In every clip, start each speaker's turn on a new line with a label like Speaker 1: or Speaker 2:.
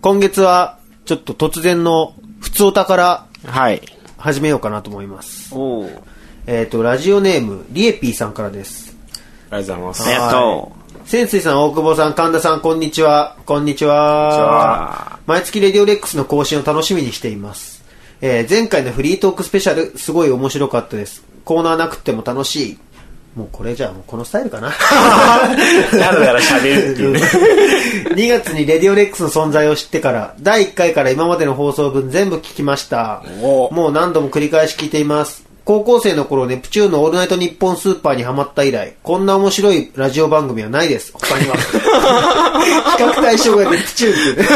Speaker 1: 今月は、ちょっと突然の、普通おたから
Speaker 2: はい。
Speaker 1: 始めようかなと思います。
Speaker 2: おお。あり
Speaker 1: えっ、と、ラジオネーム、リエピーさんからです。
Speaker 3: がとうございます。
Speaker 2: ありがと
Speaker 1: う。潜水さん、大久保さん、神田さん、こんにちは。こんにちは。毎月レディオレックスの更新を楽しみにしています。えー前回のフリートークスペシャル、すごい面白かったです。コーナーなくても楽しい。もうこれじゃあ、もうこのスタイルかな。
Speaker 3: う。だらだら喋るっていう ね。
Speaker 1: 2月にレディオレックスの存在を知ってから、第1回から今までの放送分全部聞きました。
Speaker 2: お
Speaker 1: もう何度も繰り返し聞いています。高校生の頃、ネプチューンのオールナイトニッポンスーパーにハマった以来、こんな面白いラジオ番組はないです。他には。 比較対象がネプチューンっていうね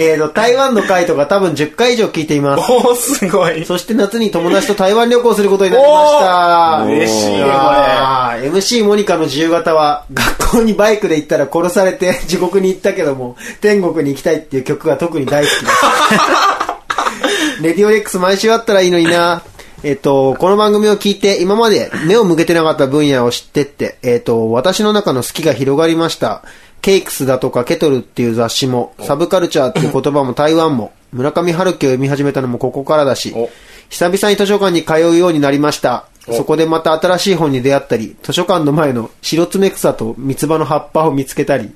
Speaker 1: えーと、台湾の回とか多分10回以上聞いています。
Speaker 3: おお、すごい。
Speaker 1: そして夏に友達と台湾旅行することになりました。
Speaker 3: おー嬉しいね
Speaker 1: わー MC モニカの自由形は、学校にバイクで行ったら殺されて地獄に行ったけども、天国に行きたいっていう曲が特に大好きです。レディオレックス毎週あったらいいのにな。えっと、この番組を聞いて、今まで目を向けてなかった分野を知ってって、えっと、私の中の好きが広がりました。ケイクスだとかケトルっていう雑誌も、サブカルチャーっていう言葉も台湾も、村上春樹を読み始めたのもここからだし
Speaker 3: お、
Speaker 1: 久々に図書館に通うようになりました。そこでまた新しい本に出会ったり、図書館の前の白爪草と三つ葉の葉っぱを見つけたり、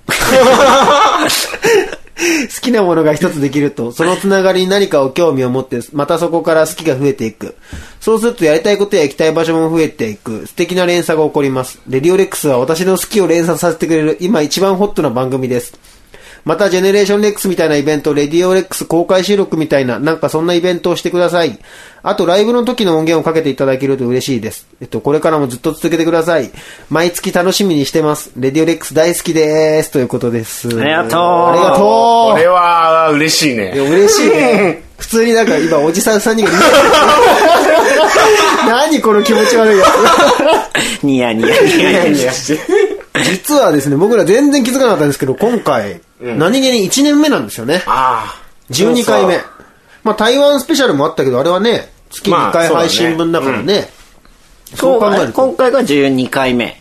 Speaker 1: 好きなものが一つできると、そのつながりに何かを興味を持って、またそこから好きが増えていく。そうするとやりたいことや行きたい場所も増えていく。素敵な連鎖が起こります。レディオレックスは私の好きを連鎖させてくれる、今一番ホットな番組です。また、ジェネレーションレックスみたいなイベント、レディオレックス公開収録みたいな、なんかそんなイベントをしてください。あと、ライブの時の音源をかけていただけると嬉しいです。えっと、これからもずっと続けてください。毎月楽しみにしてます。レディオレックス大好きです。ということです。
Speaker 2: ありがとう
Speaker 1: ありがとう
Speaker 3: これは、嬉しい
Speaker 1: いや、
Speaker 3: ね。
Speaker 1: 嬉しい ね。普通になんか今、おじさん3人が見てる何この気持ち悪いや
Speaker 2: う。ニヤニヤニヤニヤ。
Speaker 1: つ。実はですね、僕ら全然気づかなかったんですけど、今回、何気に1年目なんですよね。
Speaker 3: ああ。
Speaker 1: 12回目
Speaker 3: そう。
Speaker 1: まあ、台湾スペシャルもあったけど、あれはね、月
Speaker 3: まあ
Speaker 1: 2回
Speaker 3: そうだね
Speaker 1: 配信分だからね。そう考える
Speaker 2: 今
Speaker 1: と、
Speaker 2: 回が12回目。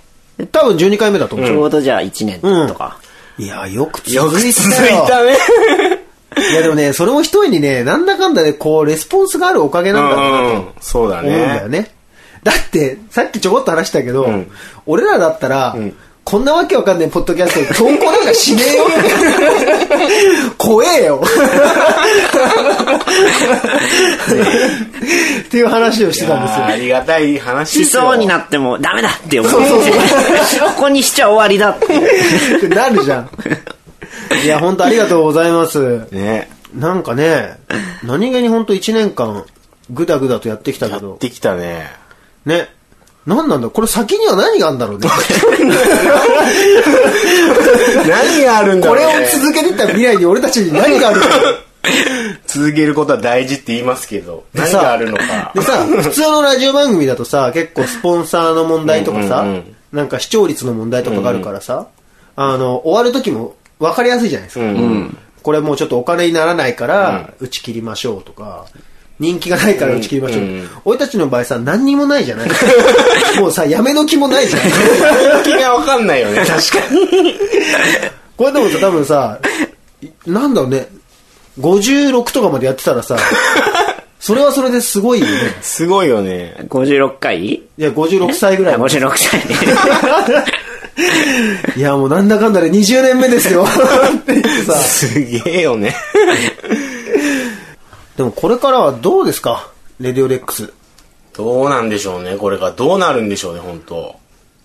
Speaker 1: 多分12回目だと思う
Speaker 2: ち。ょうどじゃあ1年とか。
Speaker 1: いや、よく続いたよ。
Speaker 3: よく続いたね。
Speaker 1: いや、でもね、それも一重にね、なんだかんだで、こう、レスポンスがあるおかげ
Speaker 3: う
Speaker 1: なんだろうなと
Speaker 3: んうん。そうだ
Speaker 1: 思うんだよ
Speaker 3: ね。
Speaker 1: ね。だって、さっきちょこっと話したけど、
Speaker 3: ん
Speaker 1: 俺らだったら、こんなわけわかんないポッドキャスト、投稿なんかしねえよ怖えよっていう話をしてたんですよ
Speaker 3: あ。ーありがたい話
Speaker 2: し
Speaker 3: ですよ。
Speaker 2: そうになってもダメだって思う。こ こにしちゃ終わりだって。
Speaker 1: ってなるじゃん。いや、本当ありがとうございます。
Speaker 3: ね。
Speaker 1: なんかね、何気に本当1年間、ぐだぐだとやってきたけ
Speaker 3: や
Speaker 1: ど
Speaker 3: っ、てきたね。
Speaker 1: ね。何なんだこれ先には何があるんだろう ね。
Speaker 3: 何があるんだ
Speaker 1: こ
Speaker 3: ろう
Speaker 1: れを
Speaker 3: ね。
Speaker 1: 続けてった未来に俺たちに何があるのか。
Speaker 3: 続けることは大事って言いますけど、
Speaker 1: で
Speaker 3: 何
Speaker 1: さ
Speaker 3: があるのか
Speaker 1: で。さ、普通のラジオ番組だとさ、結構スポンサーの問題とかさ、
Speaker 3: うんうんうん
Speaker 1: なんか視聴率の問題とかがあるからさ、あの、終わる時も分かりやすいじゃないですか。これもうちょっとお金にならないから、打ち切りましょうとか、人気がないから打ち切りましょう。俺たちの場合さ、何にもない じゃないもうさ、やめの気もないじゃん。
Speaker 3: 動機がわかんないよ ね、確かに。
Speaker 1: これでもさ、多分さ、なんだろうね、56とかまでやってた らさ、それはそれですごいよね。
Speaker 3: すごいよね。
Speaker 2: 56回
Speaker 1: いや、56歳ぐらいまで
Speaker 2: ?56 歳。
Speaker 1: いや、もうなんだかんだで20年目です よ。って言ってさ。
Speaker 3: すげえよね。
Speaker 1: でもこれからはどうですかレディオレックス。
Speaker 3: どうなんでしょうね、これが。どうなるんでしょうね、本当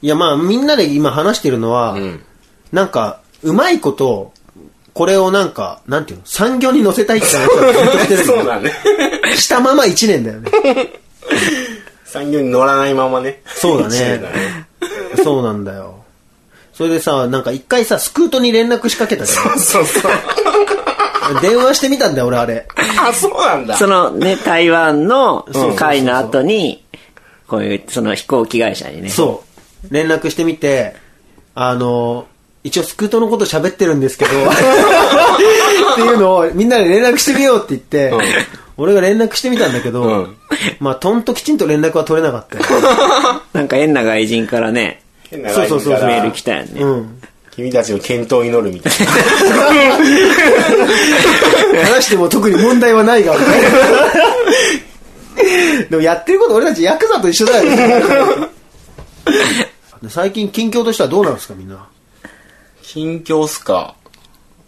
Speaker 1: いや、まあみんなで今話してるのは、
Speaker 3: ん
Speaker 1: なんか、うまいこと、これをなんか、なんていうの、産業に乗せたいって話をずっとしてるんだ
Speaker 3: そ
Speaker 1: よ
Speaker 3: うだね。
Speaker 1: したまま1年だよね。
Speaker 3: 産業に乗らないままね。
Speaker 1: そう だね
Speaker 3: 一年
Speaker 1: そうなんだよ。それでさ、なんか一回さ、スクートに連絡しかけたじ
Speaker 3: そうそう。
Speaker 1: ゃん。電話してみたんだよ、俺あれ。
Speaker 3: あ、そうなんだ。
Speaker 2: そのね、台湾の
Speaker 1: そうそう
Speaker 2: 会の後に、こういう、その飛行機会社にね。
Speaker 1: そう。連絡してみて、あの、一応スクートのこと喋ってるん ですけど、っていうのをみんなで連絡してみようって言って、俺が連絡してみたんだけど、
Speaker 3: うん
Speaker 1: まあ、とんときちんと連絡は取れなかったよ。
Speaker 2: なんか変な外人からね、
Speaker 3: 変な
Speaker 1: そうそうそうそう。
Speaker 2: メール来たよね
Speaker 1: うん。
Speaker 3: 君たちの健闘を祈るみたいな。
Speaker 1: 話しても特に問題はないが、 でもやってること俺たちヤクザと一緒だよ、ね、最近近況としてはどうなんですかみんな
Speaker 3: 近況っすか。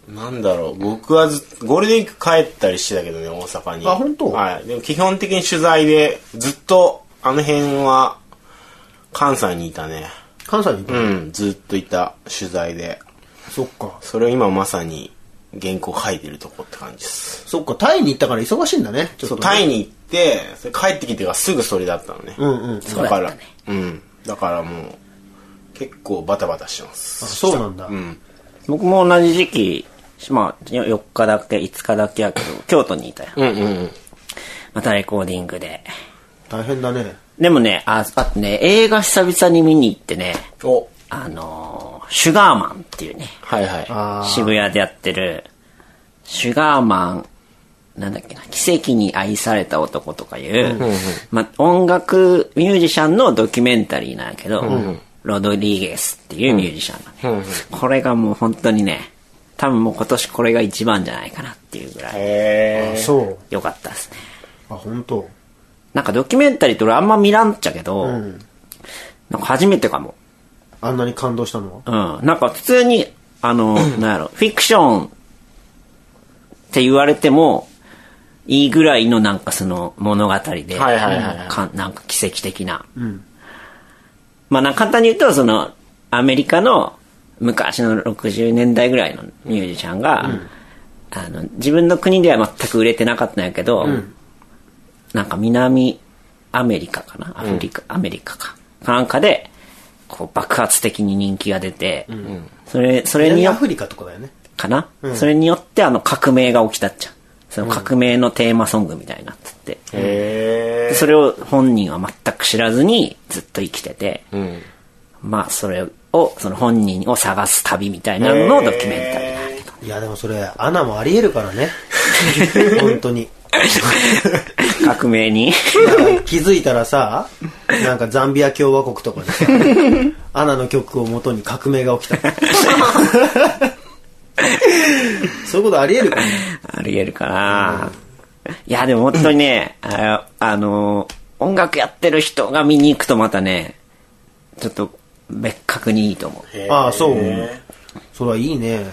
Speaker 3: なんだろう。僕はず、ゴールデンウィーク帰ったりしてたけどね、大阪に。
Speaker 1: あ本当
Speaker 3: はい。でも基本的に取材で、ずっと、あの辺は、関西にいたね。
Speaker 1: 関西にいた、
Speaker 3: うん、ずっといた取材で。
Speaker 1: そっか
Speaker 3: それを今まさに、原稿書いてるとこって感じです。
Speaker 1: そっかタイに行ったから忙しいんだねちょっと
Speaker 3: そう、
Speaker 1: ね
Speaker 3: タイに行って、それ帰ってきてがすぐそれだったのね。
Speaker 1: うんうん
Speaker 2: そうだ
Speaker 3: か
Speaker 2: った
Speaker 3: ら
Speaker 2: ね、
Speaker 3: うん。だからもう、結構バタバタしてます。
Speaker 1: あそうなんだ、
Speaker 3: うん。
Speaker 2: 僕も同じ時期、まあ、よ4日だけ、5日だけやけど、京都にいたよ。
Speaker 3: うんうんうん。
Speaker 2: またレコーディングで。
Speaker 1: 大変だね
Speaker 2: でもね、あ、あとね、映画久々に見に行ってね、
Speaker 3: お、
Speaker 2: あのーシュガーマンっていうね、
Speaker 3: はいは
Speaker 1: あー
Speaker 2: 渋谷でやってる、シュガーマン、なんだっけな、奇跡に愛された男とかいう、ま、音楽ミュージシャンのドキュメンタリーなんやけど、ロドリゲスっていうミュージシャンがね、これがもう本当にね、多分もう今年これが一番じゃないかなっていうぐらい
Speaker 3: い。へー。
Speaker 1: そう
Speaker 2: 良かったですね。
Speaker 1: あ本当。
Speaker 2: なんかドキュメンタリーって俺あんま見らんっちゃけど、
Speaker 1: うん
Speaker 2: なんか初めてかも。
Speaker 1: あんなに感動したのは
Speaker 2: うん。なんか普通に、あ の、なんやろ、フィクションって言われても、いいぐらいのなんかその物語で、
Speaker 3: はいはいはいはい
Speaker 2: かなんか奇跡的な。まあなんか簡単に言うと、その、アメリカの昔の60年代ぐらいのミュージシャンが、あの自分の国では全く売れてなかったんやけど、なんか南アメリカかなアフリカ、アメリカか。かなんかで、こう爆発的に人気が出て、それ、それに
Speaker 1: 南
Speaker 2: よ
Speaker 1: ア
Speaker 2: っ
Speaker 1: フリカとかだよね
Speaker 2: かな、それによってあの革命が起きたっちゃう。その革命のテーマソングみたいになってて、
Speaker 3: へ
Speaker 2: でそれを本人は全く知らずにずっと生きてて、
Speaker 3: ー。うん。
Speaker 2: まあそれを、その本人を探す旅みたいなののドキュメンタリーなんやけど。
Speaker 1: いやでもそれアナもありえるから ね本当に
Speaker 2: 革命に。
Speaker 1: だから気づいたらさなんかザンビア共和国とかでさアナの曲を元に革命が起きたそういうことありえるかも
Speaker 2: ありえるかな、いや、でも本当にね、ああの、音楽やってる人が見に行くとまたね、ちょっと別格にいいと思う。
Speaker 3: へー
Speaker 1: ああそうそれはいいね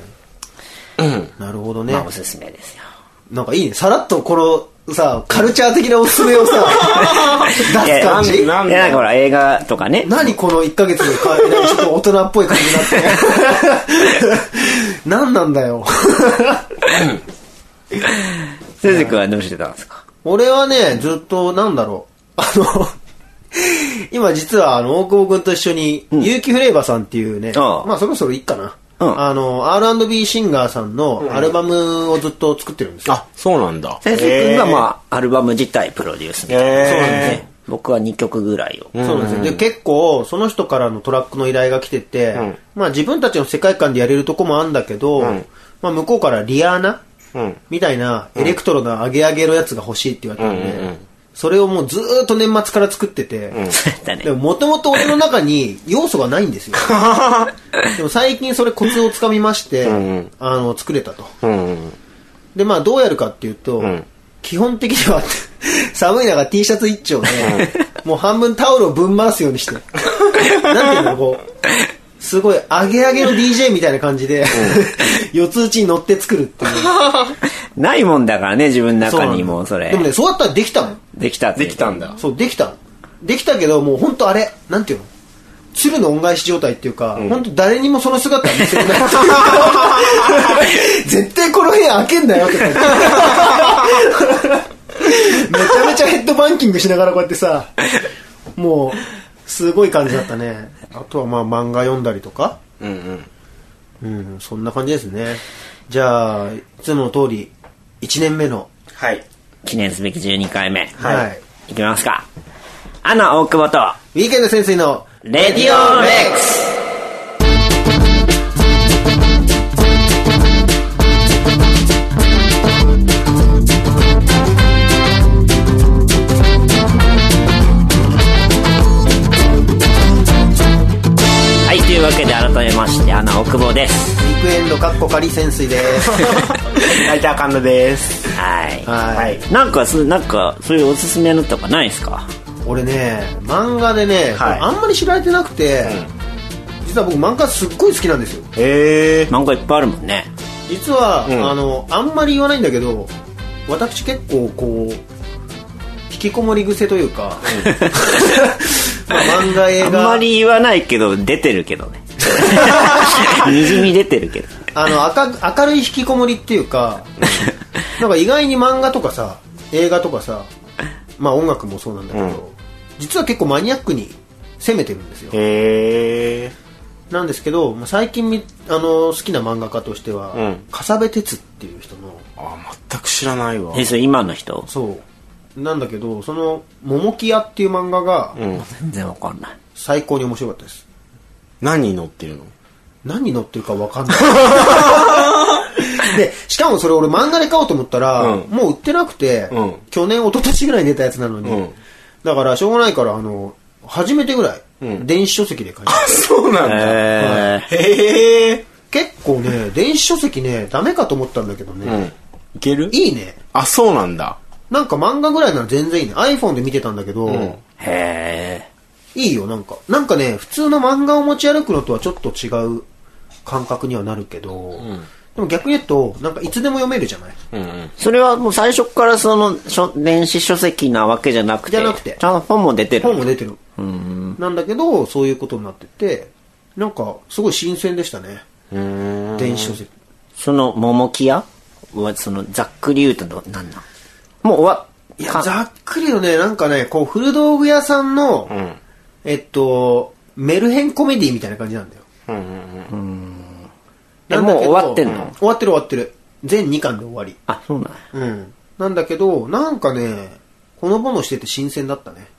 Speaker 1: なるほどね、
Speaker 2: まあおすすめですよ。
Speaker 1: なんかいいねさらっとこのさカルチャー的なおすすめをさ出す感
Speaker 3: い
Speaker 1: じ
Speaker 3: やなん
Speaker 2: いや、なんかほら映画とかね、
Speaker 1: 何この1ヶ月の変わりないちょっと大人っぽい感じになって。何なんだよ。
Speaker 2: 鈴くんはどうしてたんですか
Speaker 1: 俺はね、ずっと、なんだろう。あの、 今実は、あの、大久保くんと一緒に、有機フレーバーさんっていうね、
Speaker 2: ああ
Speaker 1: まあそろそろいいかな。
Speaker 2: うん
Speaker 1: あの、R&B シンガーさんのアルバムをずっと作ってるんですよ。
Speaker 3: あ、そうなんだ。
Speaker 2: 鈴くんが
Speaker 3: あ、
Speaker 2: まあ、アルバム自体プロデュースみたいな。
Speaker 3: へー
Speaker 2: そうなんですね。僕は2曲ぐらいを。
Speaker 1: そうなんですよ。で、結構、その人からのトラックの依頼が来てて、まあ自分たちの世界観でやれるとこもあんだけど、まあ向こうからリアーナ
Speaker 3: うん。
Speaker 1: みたいな、エレクトロなアゲアゲのやつが欲しいって言われたん
Speaker 3: うんうんう
Speaker 1: で
Speaker 3: ん、
Speaker 1: それをもうずーっと年末から作ってて、
Speaker 2: そうやったね
Speaker 1: で。ももともと俺の中に要素がないんです よ。 でも最近それコツをつかみまして
Speaker 3: んうん、
Speaker 1: あの、作れたと。
Speaker 3: うんうん。
Speaker 1: で、まあどうやるかっていうと
Speaker 3: ん、
Speaker 1: 基本的には 寒い中 T シャツ一丁で、もう半分タオルをぶん回すよう にして、なんていうの、こう、すごいアゲアゲの DJ みたいな感じで、 四つ打ちに乗って作るっていう。
Speaker 2: ないもんだからね、自分の中にもうそれ
Speaker 1: で。もね、そうやったらできたもん。
Speaker 2: できたっていう
Speaker 3: できたんだ。
Speaker 1: そう、できた。できたけど、もう本当あれ、なんていうの鶴の恩返し状態っていうか、本当誰にもその姿は見せれない。 絶対この部屋開けんなよって感じ。めちゃめちゃヘッドバンキングしながらこうやってさ、もう、すごい感じだったね。あとはまあ漫画読んだりとか、
Speaker 3: うんうん。
Speaker 1: うん、そんな感じですね。じゃあ、いつもの通り、1年目の、
Speaker 3: はい。
Speaker 2: 記念すべき12回目。
Speaker 1: はい、
Speaker 2: いきますか。アナ大久保と、
Speaker 1: ウィーケンド先生の、
Speaker 2: レディオレックスはい、というわけで改めまましてアナ奥保です
Speaker 1: ビッグエンドかっこかり潜水です。
Speaker 3: ライター神田です。
Speaker 2: はい
Speaker 1: は
Speaker 3: はいい。
Speaker 2: なんかそうなんかそういうおすすめのとかないですか
Speaker 1: 俺ね、漫画でね、
Speaker 3: はい
Speaker 1: あんまり知られてなくて、実は僕漫画すっごい好きなんですよ。
Speaker 3: ええ。
Speaker 2: 漫画いっぱいあるもんね
Speaker 1: 実は、
Speaker 3: うん
Speaker 1: あの、あんまり言わないんだけど、私結構こう、引きこもり癖というか、まあ漫画映
Speaker 2: あん
Speaker 1: 画、
Speaker 2: まり言わないけど出てるけ どねにじみ出てるけど
Speaker 1: あの明く明るい引きこもりっていうかなんか意外に漫画とかさ映画とかさまあ音楽もそうなんだけど、
Speaker 3: うん
Speaker 1: 実は結構マニアックに攻めてるんですよ
Speaker 3: へえ。
Speaker 1: なんですけどまあ最近みあの好きな漫画家としては、
Speaker 3: うん
Speaker 1: 笠部哲っていう人の
Speaker 3: あ、全く知らないわ。
Speaker 2: えそれ今の人
Speaker 1: そうなんだけどその「桃木屋」っていう漫画が
Speaker 3: うん。
Speaker 2: 全然わかんない
Speaker 1: 最高に面白かったです、
Speaker 3: 何に乗ってるの
Speaker 1: 何に載ってるか分か んないでしかもそれ俺漫画で買おうと思ったら、
Speaker 3: うん
Speaker 1: もう売ってなくて、
Speaker 3: うん
Speaker 1: 去年一昨年ぐらいに出たやつなのに、
Speaker 3: うん
Speaker 1: だからしょうがないからあの初めてぐらい、
Speaker 3: うん
Speaker 1: 電子書籍で買いまし
Speaker 3: そうなん
Speaker 2: え
Speaker 3: だ。へえ。
Speaker 1: た結構ね電子書籍ねダメかと思ったんだけどね、
Speaker 3: うん。いける
Speaker 1: いいね
Speaker 3: あ、そうなんだ。
Speaker 1: なんか漫画ぐらいなら全然いいね iPhone で見てたんだけど、
Speaker 3: うん
Speaker 2: ー、へ
Speaker 1: いいよなんかなんかね普通の漫画を持ち歩くのとはちょっと違う感覚にはなるけど、でも逆に言うとなんかいつでも読めるじゃない
Speaker 3: うんうん
Speaker 2: え。それはもう最初からその書電子書籍なわけじゃなく
Speaker 1: じ
Speaker 2: て
Speaker 1: ゃなくて
Speaker 2: ちゃんと本も出てる
Speaker 1: 本も出てる
Speaker 2: うん
Speaker 1: なんだけど、そういうことになってて、なんか、すごい新鮮でしたね。
Speaker 3: うーん。
Speaker 1: 電子書籍。
Speaker 2: その桃木屋はそのざっくり言うとどなんなんもう終わ
Speaker 1: い
Speaker 2: か
Speaker 1: や、ざっくりとね、なんかね、こう、古道具屋さんの、
Speaker 3: うん。
Speaker 1: えっと、メルヘンコメディみたいな感じなんだよ。
Speaker 3: うんうんうん。
Speaker 2: え
Speaker 1: なんだけど
Speaker 2: もう終わってんの
Speaker 1: う終わってる終わってる。全2巻で終わり。
Speaker 2: あそうなんや
Speaker 1: うん。なんだけど、なんかね、ほのぼのしてて新鮮だったね。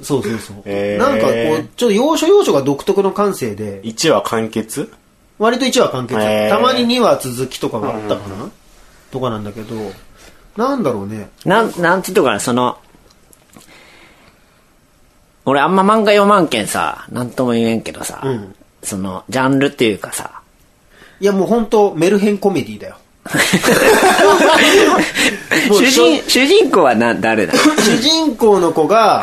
Speaker 1: そうそうそう。
Speaker 3: へー
Speaker 1: なんかこう、ちょっと要所要所が独特の感性で、
Speaker 3: 1話完結
Speaker 1: 割と1話完結、
Speaker 3: へー
Speaker 1: たまに2話続きとかがあったかな、とかなんだけどなんだろうね
Speaker 2: なんなんつうとかなその俺あんま漫画読まんけんさなんとも言えんけどさ、
Speaker 1: うん
Speaker 2: そのジャンルっていうかさ
Speaker 1: いやもう本当メルヘンコメディ だよもう
Speaker 2: 主人主人公はな誰だ
Speaker 1: 主人公の子が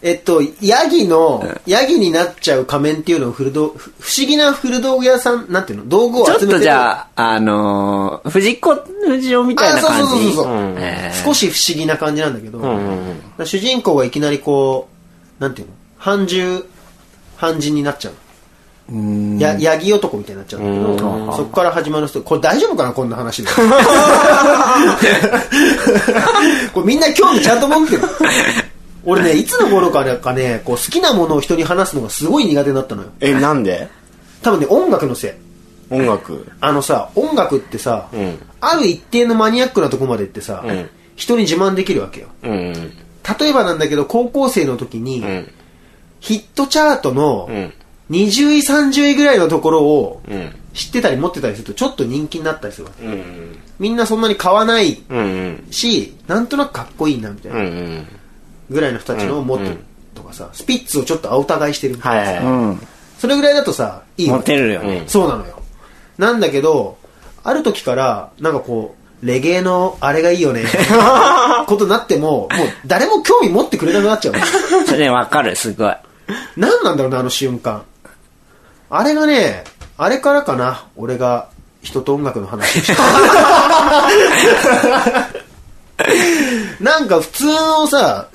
Speaker 1: えっとヤギの、ヤギになっちゃう仮面っていうのを古道ふ不思議な古道具屋さんなんていうの道具を
Speaker 2: ち
Speaker 1: 集
Speaker 2: ょ
Speaker 1: め
Speaker 2: って
Speaker 1: る
Speaker 2: とじゃあ、あのー、藤子不二雄みたいな
Speaker 1: あそう
Speaker 2: 感
Speaker 1: そう
Speaker 2: じ。
Speaker 1: そうそう
Speaker 3: うん
Speaker 2: えー
Speaker 1: 少し不思議な感じなんだけど、
Speaker 3: うんうんうん。
Speaker 1: だから主人公がいきなりこうなんていうの半獣半人になっちゃうやヤギ男みたいになっちゃうんだけどそこから始まる人これ大丈夫かなこんな 話でこれみんな興味ちゃんと持ってる俺ねいつの頃からかねこう好きなものを人に話すのがすごい苦手になったのよ
Speaker 3: え、なんで
Speaker 1: 多分ね音楽のせい
Speaker 3: 音楽。
Speaker 1: あのさ音楽ってさ、
Speaker 3: うん
Speaker 1: ある一定のマニアックなとこまでってさ、
Speaker 3: うん
Speaker 1: 人に自慢できるわけよ
Speaker 3: うんうん。
Speaker 1: 例えばなんだけど高校生の時に、
Speaker 3: うん。
Speaker 1: ヒットチャートの
Speaker 3: うん
Speaker 1: 20位30位ぐらいのところを
Speaker 3: うん。
Speaker 1: 知ってたり持ってたりするとちょっと人気になったりするわけ
Speaker 3: うん
Speaker 1: みんなそんなに買わない
Speaker 3: うん。うん
Speaker 1: しなんとなくかっこいいなみたい
Speaker 3: うん。う。
Speaker 1: なんぐらいの人たちのを持ってるとかさスピッツをちょっと青互いしてるみたい
Speaker 3: は
Speaker 1: ない
Speaker 3: は
Speaker 2: うん。
Speaker 1: それぐらいだとさいいわ
Speaker 2: モ
Speaker 1: け
Speaker 2: テるよね。
Speaker 3: うん
Speaker 1: そうなのよなんだけどある時からなんかこうレゲエのあれがいいよね ことになってももう誰も興味持ってくれなくなっちゃうわけ
Speaker 2: それねわかる、すごい。
Speaker 1: 何なんだろうな、あの瞬間。あれがね、あれからかな、俺が人と音楽の話をした。なんか普通のさ、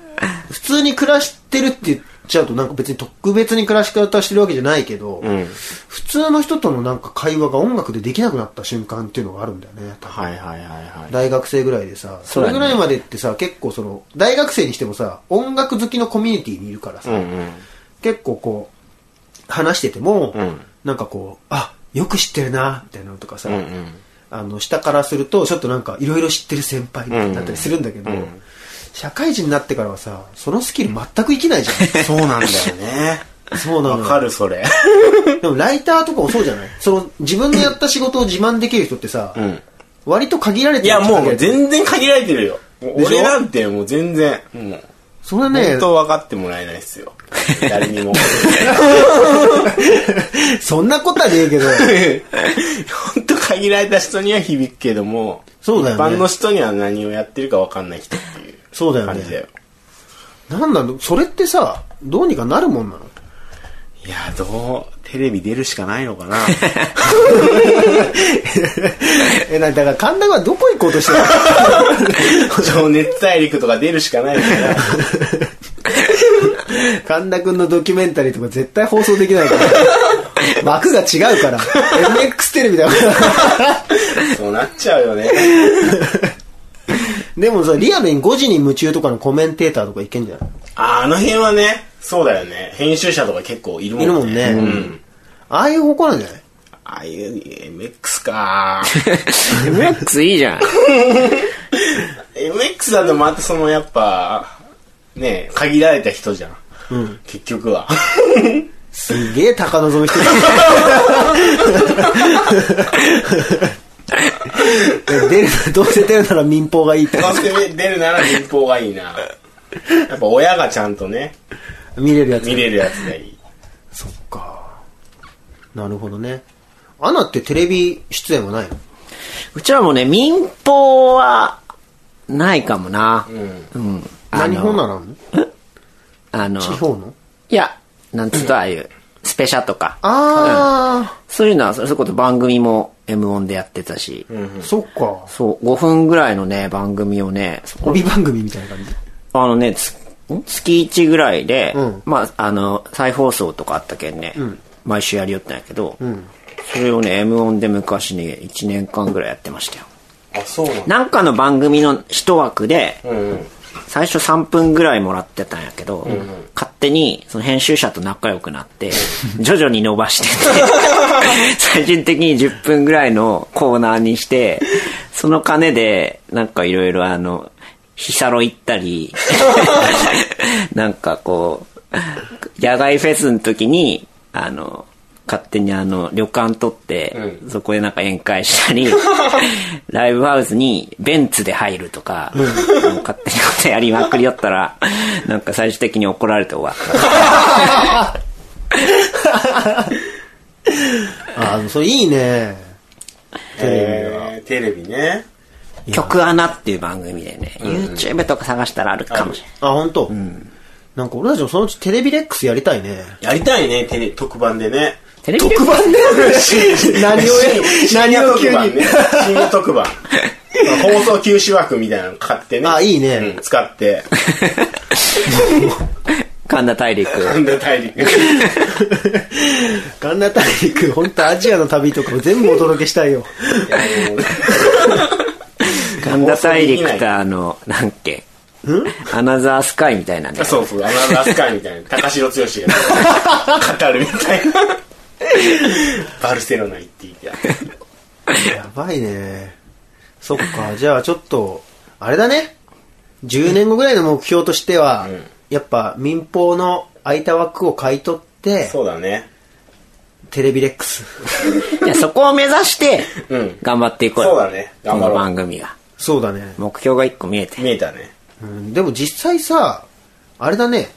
Speaker 1: 普通に暮らしてるって言っちゃうとなんか別に特別に暮らし方してるわけじゃないけど、
Speaker 3: い。うん。
Speaker 1: 普通の人とのなんか会話が音楽でできなくなった瞬間っていうのがあるんだよね。多分
Speaker 3: はいはいはいは
Speaker 1: 大学生ぐらいでさ、そ
Speaker 2: そうだ
Speaker 1: れ
Speaker 2: ね
Speaker 1: ぐらいまでってさ、結構その、大学生にしてもさ、音楽好きのコミュニティにいるから
Speaker 3: い。
Speaker 1: さ、
Speaker 3: うんうん。
Speaker 1: 結構こう話してても、
Speaker 3: うん
Speaker 1: なんかこうあよく知ってるなみたいなのとかさ、
Speaker 3: うんうん。
Speaker 1: あの下からするとちょっとなんかいろいろ知ってる先輩みたいになったりするんだけど、
Speaker 3: うんうん
Speaker 1: 社会人になってからはさそのスキル全く生きないじゃ
Speaker 3: そうなんだよね。
Speaker 1: んそうなの
Speaker 3: わ
Speaker 1: よ
Speaker 3: か るそれ。
Speaker 1: でもライターとかもそうじゃないその自分のやった仕事を自慢できる人ってさ、
Speaker 3: ん
Speaker 1: 割と限られて
Speaker 3: い
Speaker 1: る
Speaker 3: やも
Speaker 1: 限ら
Speaker 3: う
Speaker 1: れてる
Speaker 3: 全然限られてるよ。もう
Speaker 1: でしょ
Speaker 3: 俺なんてもう全然。もう
Speaker 1: それはね
Speaker 3: 本、当分かってもらえないですよ。誰にも。
Speaker 1: そんなことはね えけど、
Speaker 3: 本当限られた人には響くけども、
Speaker 1: そうだよね
Speaker 3: 一般の人には何をやってるか分かんない人っていう
Speaker 1: そうだよ
Speaker 3: 感じだ
Speaker 1: ね
Speaker 3: よ。。
Speaker 1: なんなのそれってさ、どうにかなるもんなの
Speaker 3: いや、どう、テレビ出るしかないのかな。
Speaker 1: え、な、だから神田はどこ行こうとしてる
Speaker 3: 情熱大陸とか出るしかないのかな。
Speaker 1: 神田くんのドキュメンタリーとか絶対放送できないから。 枠が違うから。MX テレビだから。
Speaker 3: そうなっちゃうよね。
Speaker 1: でもさ、リアルに5時に夢中とかのコメンテーターとかいけんじゃない
Speaker 3: ああの辺はね、そうだよね。編集者とか結構いるもん
Speaker 1: い
Speaker 3: ね。
Speaker 1: るもんね。
Speaker 3: うん。
Speaker 1: ああいう方向なんじゃない
Speaker 3: ああいう MX か
Speaker 2: MX いいじゃん。
Speaker 3: MX だとまたそのやっぱ、ね、限られた人じゃん。うん、結局は。
Speaker 1: すげえ高望み してる。出る、どうせ出るなら民放がいいって。
Speaker 3: どうせ出るなら民放がいいな。やっぱ親がちゃんとね、
Speaker 1: 見れるやつ。
Speaker 3: 見れるやつがいい。
Speaker 1: そっか。なるほどね。アナってテレビ出演はないの
Speaker 2: うちらもね、民放は、ないかもな。うん。あ
Speaker 1: 何本
Speaker 2: の
Speaker 1: なの
Speaker 2: あ
Speaker 1: 地
Speaker 2: の、
Speaker 1: 方の
Speaker 2: いや、なんつうとああいう、スペシャとか。
Speaker 1: あ
Speaker 2: そういうのは、それこそ番組も M1 でやってたし、
Speaker 1: あ、そっか。
Speaker 2: そう、5分ぐらいのね、番組をね、
Speaker 1: 帯番組みたいな感じ。
Speaker 2: あのね、つん月1ぐらいで、
Speaker 1: うん
Speaker 2: まあ、あの、再放送とかあったけんね、毎週やりよったんやけど、それをね、M1 で昔ね、1年間ぐらいやってましたよ。
Speaker 3: あ、そうなんだ。
Speaker 2: なんかの番組の一枠で、
Speaker 3: うんうん。
Speaker 2: 最初3分ぐらいもらってたんやけど、勝手にその編集者と仲良くなって、徐々に伸ばして って、最終的に10分ぐらいのコーナーにして、その金で、なんかいろいろあの、ヒサロ行った り、なんかこう、野外フェスの時に、あの、勝手にあの、旅館取って、そこでなんか宴会した り、ライブハウスにベンツで入るとか、もう勝手にことやりまくりよったら、なんか最終的に怒られて終わった。
Speaker 1: ああ、それいいね。
Speaker 3: えーテレビね。
Speaker 2: 曲穴っていう番組でね、YouTube とか探したらあるかもしれない。
Speaker 1: あ、ほんと。なんか俺たちもそのうちテレビレックスやりたいね。
Speaker 3: やりたいね、テレ特番でね。
Speaker 2: テレビ局
Speaker 1: 番だ よね何をや、
Speaker 3: 深
Speaker 1: 何
Speaker 3: 夜
Speaker 1: を
Speaker 3: 特
Speaker 1: 急
Speaker 3: 番
Speaker 1: に
Speaker 3: ね。。深夜 特番。放送休止枠みたいなの買ってね。
Speaker 1: あいいね
Speaker 3: うん使って。
Speaker 2: 神田大陸。
Speaker 3: なんだ 大陸。
Speaker 1: 神田大陸、ほんとアジアの旅とかを全部お届けしたいよ。
Speaker 2: 神田大陸とあの、なんっけ、アナザースカイみたいなね。
Speaker 3: そうそう、アナザースカイみたいな。高城剛 が語るみたいな。バルセロナ行っていいや。
Speaker 1: やばいね。そっか、じゃあちょっと、あれだね。10年後ぐらいの目標としては、
Speaker 3: うん
Speaker 1: やっぱ民放の空いた枠を買い取って、
Speaker 3: そうだね。
Speaker 1: テレビレックス。
Speaker 2: いやそこを目指して
Speaker 3: うん、
Speaker 2: 頑張っていこうよ。
Speaker 3: そうだね。
Speaker 2: こ
Speaker 3: 頑張
Speaker 2: の
Speaker 3: ろ
Speaker 2: 番
Speaker 3: う。
Speaker 2: 組が。
Speaker 1: そうだね、
Speaker 2: 目標が一個見えて。
Speaker 3: 見えたね。
Speaker 1: うん。でも実際さ、あれだね。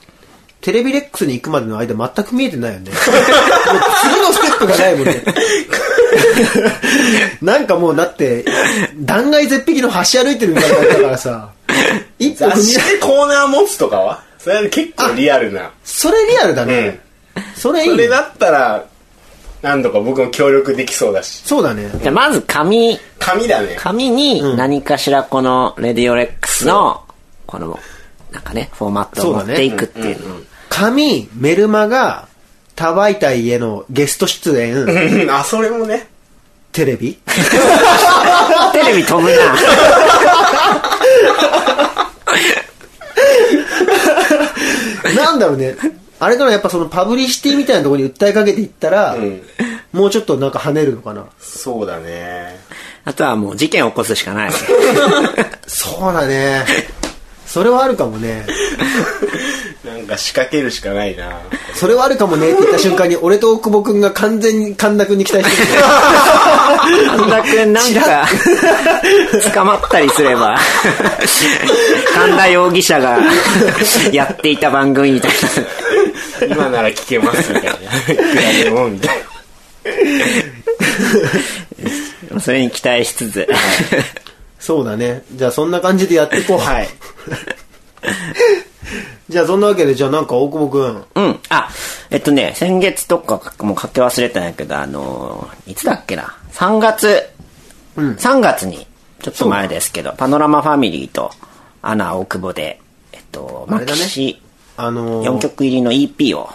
Speaker 1: テレビレックスに行くまでの間全く見えてないよね。もう次のステップがないもんね。 なんかもうだって、断崖絶壁の橋歩いてるみたいだったからさ、一歩踏
Speaker 3: 雑
Speaker 1: み出
Speaker 3: 誌でコーナー持つとかはそれは結構リアルな。
Speaker 1: それリアルだね。それいい
Speaker 3: そ
Speaker 1: ね。
Speaker 3: れだったら、何度か僕も協力できそうだし。
Speaker 1: そうだね。
Speaker 2: じゃあまず紙、
Speaker 3: 紙だね。
Speaker 2: 紙に何かしらこのレディオレックスの、この、なんかね、フォーマットを持っていくっていうの。
Speaker 1: 紙、メルマが、たばいた家のゲスト出演、
Speaker 3: うん あ、それもね。
Speaker 1: テレビ
Speaker 2: テレビ飛ぶな。
Speaker 1: なんだろうね。あれからやっぱそのパブリシティみたいなところに訴えかけていったら、
Speaker 3: ん
Speaker 1: もうちょっとなんか跳ねるのかな。
Speaker 3: そうだね。
Speaker 2: あとはもう事件を起こすしかない。
Speaker 1: そうだね。それはあるかもね。
Speaker 3: なんか仕掛けるしかないな。
Speaker 1: それはあるかもねって言った瞬間に、俺と大久保くんが完全に神田くんに期待してる。
Speaker 2: 神田くんなんか、 捕まったりすれ ば、神田容疑者が やっていた番組みたい
Speaker 3: 今なら聞けますみたいな。いくらでもみたいな。
Speaker 2: な。それに期待しつつ。
Speaker 1: そうだね。じゃあそんな感じでやっていこう。はい。 じゃあそんなわけで、じゃあなんか大久保くん。
Speaker 2: うん。あ、えっとね、先月とかもうかけ忘れたんやけど、あのーいつだっけな。3月、3月に、ちょっと前ですけど、パノラマファミリーと、アナ大久保で、えっと、
Speaker 1: あ
Speaker 2: マ
Speaker 1: れだ
Speaker 2: キ
Speaker 1: ね
Speaker 2: シ
Speaker 1: あの
Speaker 2: 4
Speaker 1: ー、
Speaker 2: 曲入りの EP を、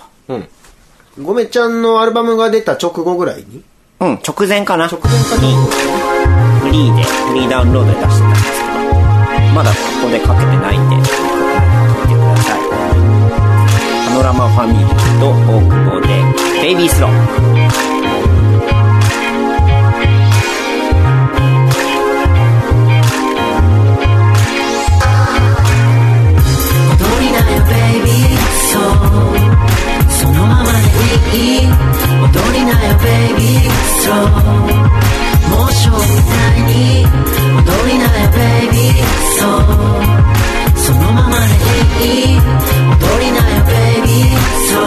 Speaker 1: ごめちゃんのアルバムが出た直後ぐらいに
Speaker 2: うん、直前かな。
Speaker 1: 直前か
Speaker 2: フリーで、フリーダウンロードで出してたんですけど、まだここでかけてないんで、見てください。パノラマファミリーと大久保で、ベイビースロー。
Speaker 4: 踊りなよベイビーそうそのままでいい踊りなよベイビーそう猛暑みたいに踊りなよベイビーそうそのままでいい踊りなよベイビーそう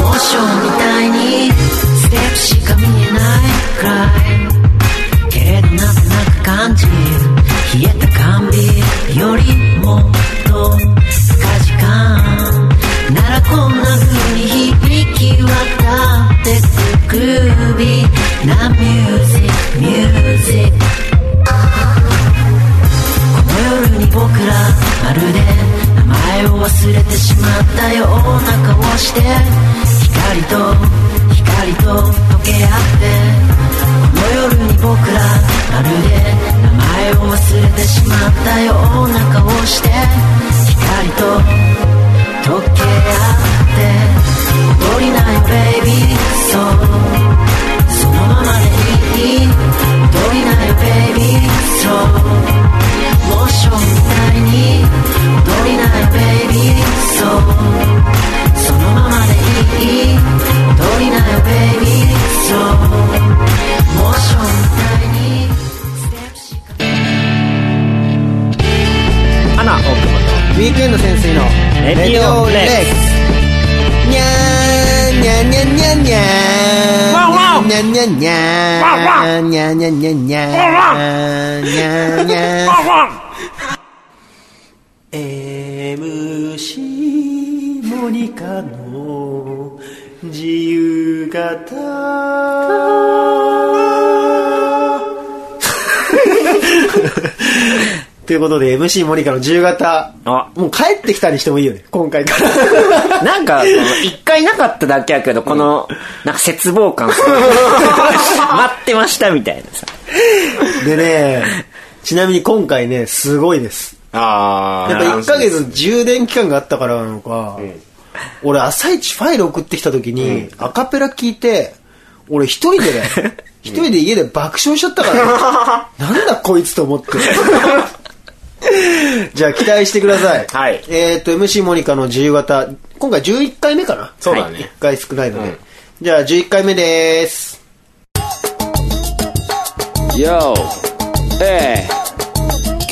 Speaker 4: 猛暑みたいにステップしか見えないくらいけれどなんとなく感じる冷えた缶ビールよりもっと深時間ならこんな風に響き渡ってくグルービーなミュージックミュージックこの夜に僕らまるで名前を忘れてしまったような顔して光と光と溶け合ってこの夜に僕らまるで名前を忘れてしまったような顔して光と溶け合って踊りなよベイビーそうそのままでいい踊りなよベイビーそうモーションみたいに踊りないベイビーそうそのままでいい踊りないベイビーそうモーションみたいにステップしか
Speaker 2: アナ大久保と、
Speaker 1: ウィークエンド先生の
Speaker 2: レディオレック
Speaker 1: スにゃーにゃーにゃーにゃーにゃー
Speaker 2: ワンワン
Speaker 1: にゃーにゃーにゃーにゃーにゃーにゃーにゃーにゃーにゃー MC モニカの自由形ということで MC モニカの自由形
Speaker 2: あ
Speaker 1: もう帰ってきたりしてもいいよね今回から
Speaker 2: なんか、その一回なかっただけやけど、この、なんか絶望 感。待ってましたみたいなさ。
Speaker 1: でねちなみに今回ねすごいです
Speaker 3: あー。
Speaker 1: やっぱ1ヶ月充電期間があったからなのか、俺朝一ファイル送ってきた時に、アカペラ聞いて俺一人でね 一人で家で爆笑しちゃったから、ね、なんだこいつと思って じゃあ期待してください、
Speaker 3: はい
Speaker 1: えっ、と MC モニカの自由形今回11回目かな
Speaker 3: そうだね
Speaker 1: 1回少ないので、
Speaker 3: うん
Speaker 1: じゃあ11回目です
Speaker 5: ようええ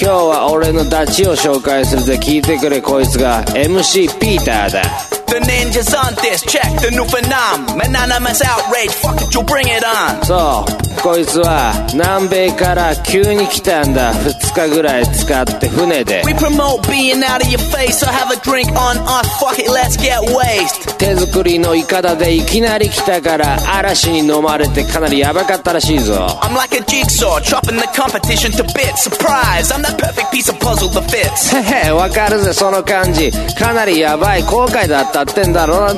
Speaker 5: 今日は俺のダチを紹介するぜ聞いてくれこいつが MC ピーターだ
Speaker 6: The ninjas on this, check the new phenom. An anonymous outrage, fuck it, you bring it on.
Speaker 5: そうこいつは南米から急に来たんだ2日ぐらい使って船で
Speaker 6: We promote being out of your face, so have a drink on us, fuck it, let's get wasted.
Speaker 5: 手作りのイカダでいきなり来たから嵐に飲まれてかなりヤバかったらしいぞ
Speaker 6: I'm like a jigsaw, chopping the competition to bits. Surprise, I'm that perfect piece of puzzle that fits.
Speaker 5: へへわかるぜその感じかなりヤバい後悔だったってんだろ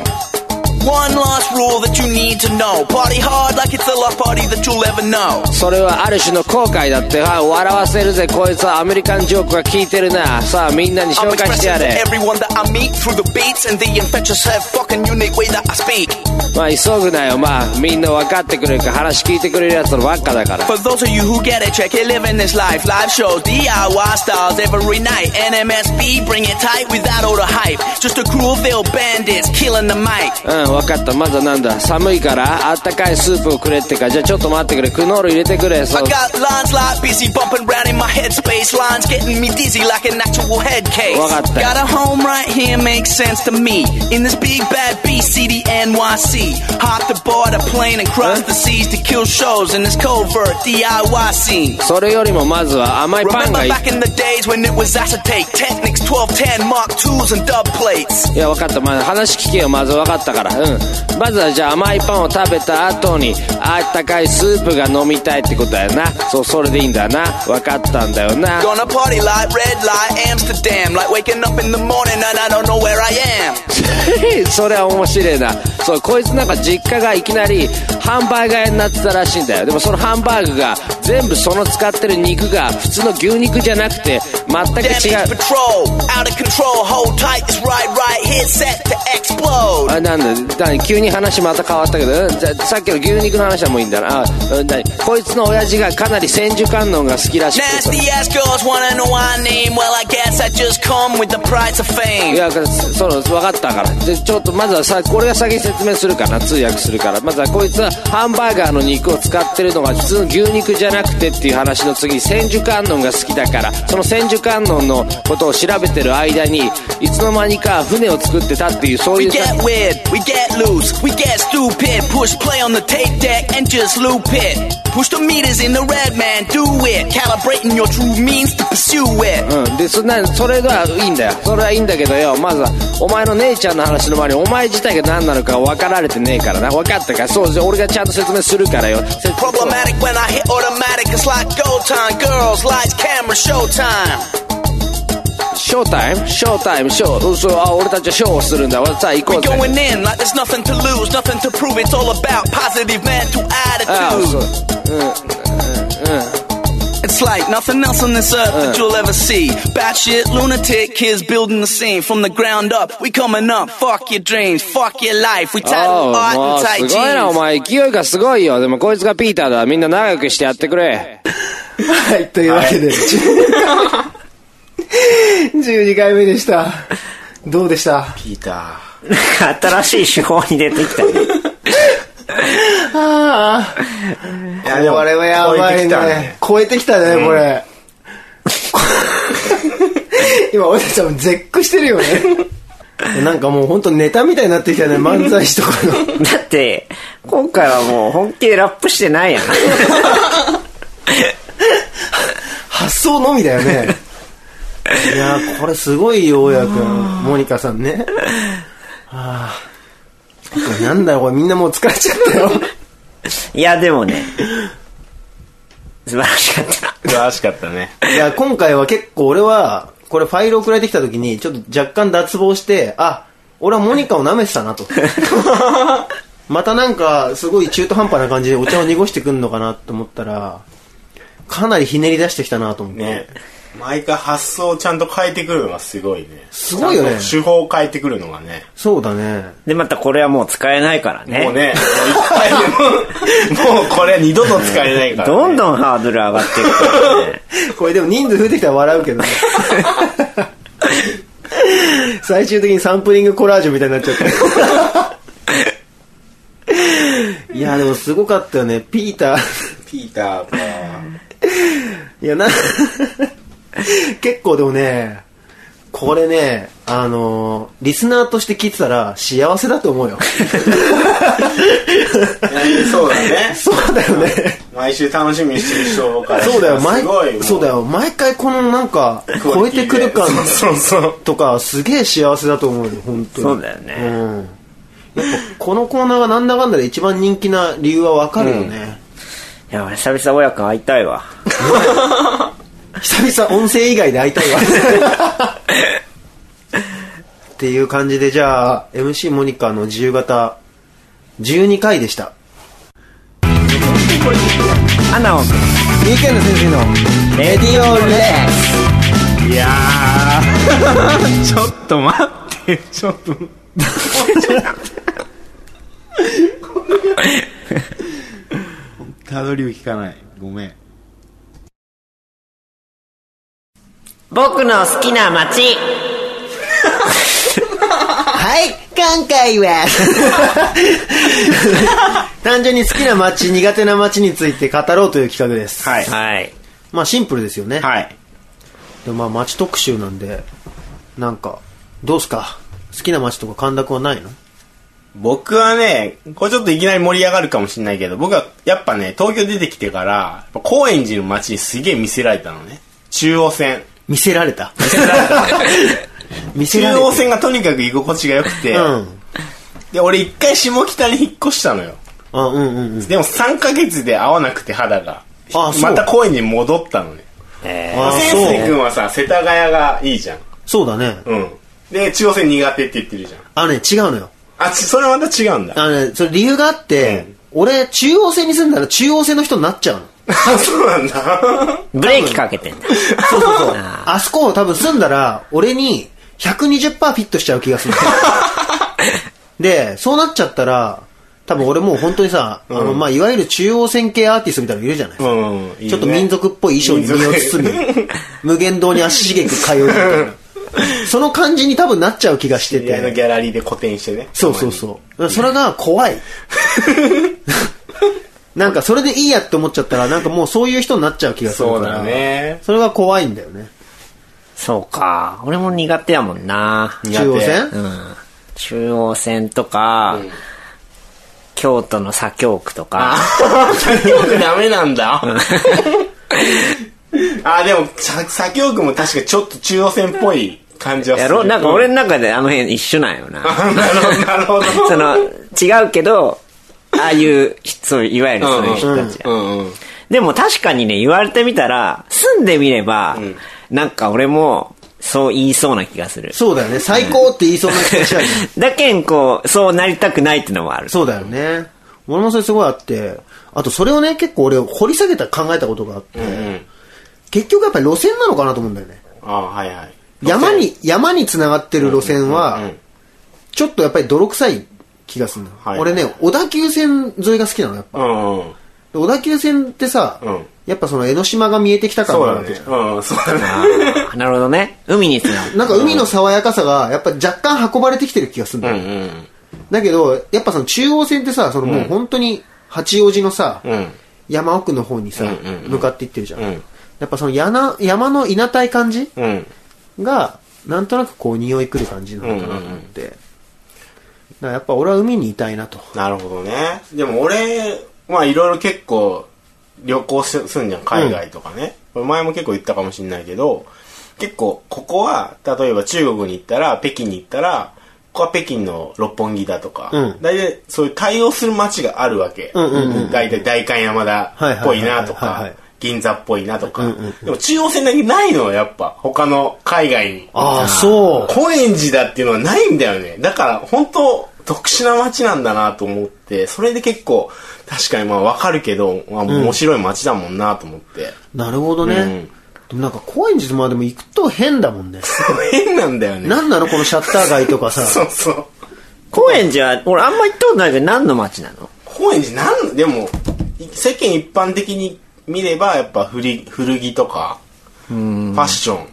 Speaker 6: One last rule that you need to know. Party hard like it's the last party that you'll ever know.
Speaker 5: それはある種の後悔だってはい笑わせるぜこいつはアメリカンジョークが効いてるなさあみんなに紹
Speaker 6: I'm
Speaker 5: 介して
Speaker 6: expressing
Speaker 5: や
Speaker 6: to
Speaker 5: れ
Speaker 6: everyone that I meet through the beats and the infectious have fucking unique way that I speak.
Speaker 5: まあ急ぐなよまあみんな分かってくれるか話聞いてくれるやつらばっかだから
Speaker 6: For those of you who get it, check it, living this life. Live shows, DIY styles every night. NMSB, bring it tight without all the hype. Just a crew of ill bandits killing the mic.
Speaker 5: うん分かったまずはなんだ寒いからあったかいスープをくれってかじゃあちょっと待ってくれクノール入れてくれそ
Speaker 6: I got lines like busy bumping round in my headspace. Lines getting me dizzy like an actual head case.
Speaker 5: What about that?
Speaker 6: Got a home right here, makes sense to me. In this big bad BCD NYC. Hop the board, a plane, and cross the seas to kill shows in this covert DIY scene.
Speaker 5: それよりもまずは甘いパン
Speaker 6: Remember
Speaker 5: がいい
Speaker 6: back in the days when it was acetate, Technics 1210, Mark 2s, and dub plates.
Speaker 5: いや分かった、まあ、話聞けよまず分かったからうんまずはじゃあ甘いパンを食べた後にあったかいスープが飲みたいってことだよなそうそれでいいんだよな分かったんだよな
Speaker 6: Gonna party like red light Amsterdam, like waking up in the morning and I don't know where I am.
Speaker 5: それは面白いなそうこいつなんか実家がいきなりハンバーガー屋になってたらしいんだよでもそのハンバーグが全部その使ってる肉が普通の牛肉じゃなくて全
Speaker 6: Damage
Speaker 5: く違う
Speaker 6: patrol, out of control. Hold tight, this ride right here set to explode.
Speaker 5: あなんだ何急に話また変わったけどうんじゃさっきの牛肉の話はもういいんだなあうん何こいつの親父がかなり千手観音が好きらしくてさ
Speaker 6: Nasty ass girls wanna know my name. Well, I guess I just come with the price of
Speaker 5: い
Speaker 6: fame.
Speaker 5: やその分かったからでちょっとまずはさこれが先に説明するから通訳するからまずはこいつはハンバーガーの肉を使ってるのが普通の牛肉じゃなくてっていう話の次千手観音が好きだからその千手観音のことを調べてる間にいつの間にか船を作ってたっていうそうい
Speaker 6: We
Speaker 5: うさ
Speaker 6: get weird, we get loose, we get stupid. Push play on the tape deck and just loop it. Push the meters in the red, man, do it. Calibrating your true means to pursue it.
Speaker 5: うん、でそんなそれはいいんだよそれはいいんだけどよまずはお前の姉ちゃんの話の前にお前自体が何なのか分かられてねえからな分かったかそうじゃ俺がちゃんと説明するからよ説
Speaker 6: Problematic when I hit automatic, it's like go time. Girls, lights, camera, showtime.
Speaker 5: ショータイムショータイムショーそうあ俺たちはショーをするんださあ行こ
Speaker 6: We
Speaker 5: うぜ
Speaker 6: going in like there's nothing to lose, nothing to prove. It's all about positive mental
Speaker 5: ああ
Speaker 6: attitude.
Speaker 5: そう
Speaker 6: It's like nothing else on this earth that you'll ever see. Batshit, lunatic kids building the scene from the ground up. We coming up. Fuck your dreams. Fuck your life. We
Speaker 5: あ
Speaker 6: title
Speaker 5: あ
Speaker 6: art
Speaker 5: もう
Speaker 6: and
Speaker 5: すごいなお前
Speaker 6: tight jeans.
Speaker 5: 勢いがすごいよでもこいつがピーターだみんな長くしてやってくれ
Speaker 1: はい、というわけで、12回目でした。どうでした
Speaker 3: ピータ
Speaker 2: なんか 新しい手法に出てきたね。
Speaker 3: ー。い
Speaker 1: これはやばいね。。超えてきたね、これ。今、俺たちはもう絶句してるよね。なんかもうほんとネタみたいになってきたよね、漫才師とかの。
Speaker 2: だって、今回はもう本気でラップしてないやん。
Speaker 1: 発想のみだよね。いやー、これすごいよ、大家くん。モニカさんね。あーこれなんだろう、これみんなもう疲れちゃったよ。
Speaker 2: いや、でもね、素晴らしかった。
Speaker 3: 素晴らしかったね。
Speaker 1: いや、今回は結構俺は、これファイル送られてきた時に、ちょっと若干脱帽して、あ、俺はモニカを舐めてたなと。 またなんか、すごい中途半端な感じでお茶を濁してくんのかなと思ったら、かなりひねり出してきたなと思って。
Speaker 3: ね。毎回発想をちゃんと変えてくるのがすごいね。
Speaker 1: すごいよね
Speaker 3: ちゃんと手法を変えてくるのがね。
Speaker 1: そうだね。
Speaker 2: で、またこれはもう使えないからね。
Speaker 3: もうね、もういっぱいでもう、もうこれは二度と使えないから、ね。
Speaker 2: どん
Speaker 3: ん。
Speaker 2: どんハードル上がっていくから ね。
Speaker 1: これでも人数増えてきたら笑うけどね。最終的にサンプリングコラージュみたいになっちゃった。 いや、でもすごかったよね。ピーター。
Speaker 3: ピーターか。
Speaker 1: いや、な、 結構でもね、これね、あのーリスナーとして聞いてたら幸せだと思うよ。
Speaker 3: いやそうだね。
Speaker 1: そうだよね。
Speaker 3: 毎週楽しみにしてる人からしたら
Speaker 1: そうだよ、
Speaker 3: すごいも
Speaker 1: 毎、そうだよ、毎回このなんか、
Speaker 3: クオ
Speaker 1: 超え
Speaker 3: リティ
Speaker 1: て
Speaker 3: で
Speaker 1: くる感
Speaker 3: そうそうそう
Speaker 1: とか、すげえ幸せだと思うよ、本当に。
Speaker 2: そうだよね
Speaker 1: うん。やっぱこのコーナーがなんだかんだで一番人気な理由はわかるよね。
Speaker 2: いや、俺久々親子会いたいわ。
Speaker 1: 久々音声以外で会いたいわ。っていう感じで、じゃあ、MC モニカの自由形、 12回でした。
Speaker 2: アナを
Speaker 1: BK の先生の
Speaker 2: レディオレッス
Speaker 3: いやーちょっと待ってちょっとこれたどりを聞かないごめん
Speaker 2: 僕の好きな街
Speaker 1: はい、今回は単純に好きな街、苦手な街について語ろうという企画です。
Speaker 3: はい
Speaker 2: はい
Speaker 1: まあシンプルですよね。
Speaker 3: はい
Speaker 1: でもまあ街特集なんで、なんか、どうすか好きな街とか感覚はないの
Speaker 3: 僕はねこれちょっといきなり盛り上がるかもしれないけど僕はやっぱね東京出てきてからやっぱ高円寺の街にすげえ見せられたのね中央線
Speaker 1: 見せられた。 見せられ
Speaker 3: 中
Speaker 1: た。
Speaker 3: 央線がとにかく居心地が良くて、
Speaker 1: うん。
Speaker 3: で俺一回下北に引っ越したのよ
Speaker 1: あ、うんうんうん。
Speaker 3: でも3ヶ月で合わなくて肌が
Speaker 1: あそう
Speaker 3: また高円寺に戻ったのね
Speaker 1: あ
Speaker 3: 先
Speaker 1: そう
Speaker 3: 生君はさ世田谷がいいじゃん
Speaker 1: そうだね。
Speaker 3: うんで中央線苦手って言ってるじゃん
Speaker 1: あのね、違うのよ。
Speaker 3: あちそれまた違うんだ
Speaker 1: あのね、それ理由があって、
Speaker 3: うん
Speaker 1: 俺、中央線に住んだら中央線の人になっちゃうの。
Speaker 3: あ そうな んだ
Speaker 2: ブレーキかけてんだ
Speaker 1: そうそうそう。
Speaker 2: あ
Speaker 1: あそこを多分住んだら、俺に120%フィットしちゃう気がする。 で、そうなっちゃったら、多分俺もう本当にさ、あの、まあ、いわゆる中央線系アーティストみたいなのいるじゃない、
Speaker 3: うんいいね
Speaker 1: ちょっと民族っぽい衣装に身を包 み、無限堂に足しげく通うみたいな。その感じに多分なっちゃう気がして
Speaker 3: 知り合いのギ
Speaker 1: て。
Speaker 3: ャラリーで個展してね
Speaker 1: そうそうそう。それが怖 い。なんかそれでいいやって思っちゃったら、なんかもうそういう人になっちゃう気がするから。
Speaker 3: そうだね
Speaker 1: それが怖いんだよね。
Speaker 2: そうか俺も苦手やもんな
Speaker 3: 苦手
Speaker 1: 中央線
Speaker 2: うん中央線とか、京都の左京区とか
Speaker 3: 左京区ダメなん だあでもさ左京区も確かにちょっと中央線っぽい感じはす
Speaker 2: や
Speaker 3: る
Speaker 2: ろなんか俺
Speaker 3: う
Speaker 2: の中であの辺一緒なんよな
Speaker 3: なるほどなるほど
Speaker 2: その違うけどああいうそういわゆるそういう人たちや、
Speaker 3: うんうん
Speaker 2: でも確かにね、言われてみたら、住んでみれば、なんか俺も、そう言いそうな気がする。
Speaker 1: そうだよね。最高って言いそうな気がしちゃうよね
Speaker 2: だけん、こう、そうなりたくないってのもある。
Speaker 1: そうだよね。俺もそれすごいあって、あとそれをね、結構俺掘り下げた考えたことがあって、結局やっぱり路線なのかなと思うんだよね。
Speaker 3: あはいはい
Speaker 1: 山に、山に繋がってる路線は、
Speaker 3: うん
Speaker 1: ちょっとやっぱり泥臭い気がするの、
Speaker 3: はい
Speaker 1: 俺ね、小田急線沿いが好きなの、やっぱ。
Speaker 3: うんうん
Speaker 1: で小田急線ってさ、
Speaker 3: うん
Speaker 1: やっぱその江ノ島が見えてきた感
Speaker 3: そう
Speaker 1: がある
Speaker 3: だ
Speaker 1: わけ
Speaker 3: ね
Speaker 1: じゃん。
Speaker 3: うんそうだね
Speaker 2: あーなるほどね。海につながる。
Speaker 1: なんか海の爽やかさが、やっぱ若干運ばれてきてる気がするんだよ。
Speaker 3: うん
Speaker 1: だけど、やっぱその中央線ってさ、そのもう本当に八王子のさ、
Speaker 3: うん
Speaker 1: 山奥の方にさ、
Speaker 3: んうんうん
Speaker 1: 向かっていってるじゃん。
Speaker 3: うん
Speaker 1: やっぱそのやな山の稲たい感じ
Speaker 3: うん
Speaker 1: が、なんとなくこう匂いくる感じなのかなと思って。だからやっぱ俺は海にいたいなと。
Speaker 3: なるほどねでも俺まあいろいろ結構旅行すすんじゃん海外とかね、これ前も結構言ったかもしれないけど結構ここは例えば中国に行ったら北京に行ったらここは北京の六本木だとか、
Speaker 1: うん
Speaker 3: 大体そういう対応する街があるわけ、
Speaker 1: んうん
Speaker 3: 大体代官山田っぽいな
Speaker 1: はいはいはいは
Speaker 3: と
Speaker 1: い
Speaker 3: か
Speaker 1: はい
Speaker 3: 銀座っぽいなとか、
Speaker 1: うんうんうん
Speaker 3: でも中央線だけないのよやっぱ他の海外に
Speaker 1: ああ、そ
Speaker 3: 高円寺だっていうのはないんだよね。だから、本当特殊な街なんだなと思って、それで結構、確かにまあわかるけど、まあ、面白い街だもんなと思って。
Speaker 1: う。なるほどね。
Speaker 3: うん
Speaker 1: でもなんか高円寺までも行くと変だもんね。
Speaker 3: 変なんだよね。
Speaker 1: なんなのこのシャッター街とか
Speaker 3: そ
Speaker 1: さ。
Speaker 3: うそう。
Speaker 2: 高円寺は、俺あんま行ったことないけど、何の街なの
Speaker 3: 高円寺なん、でも、い世間一般的に見れば、やっぱ古い古着とか、ファッション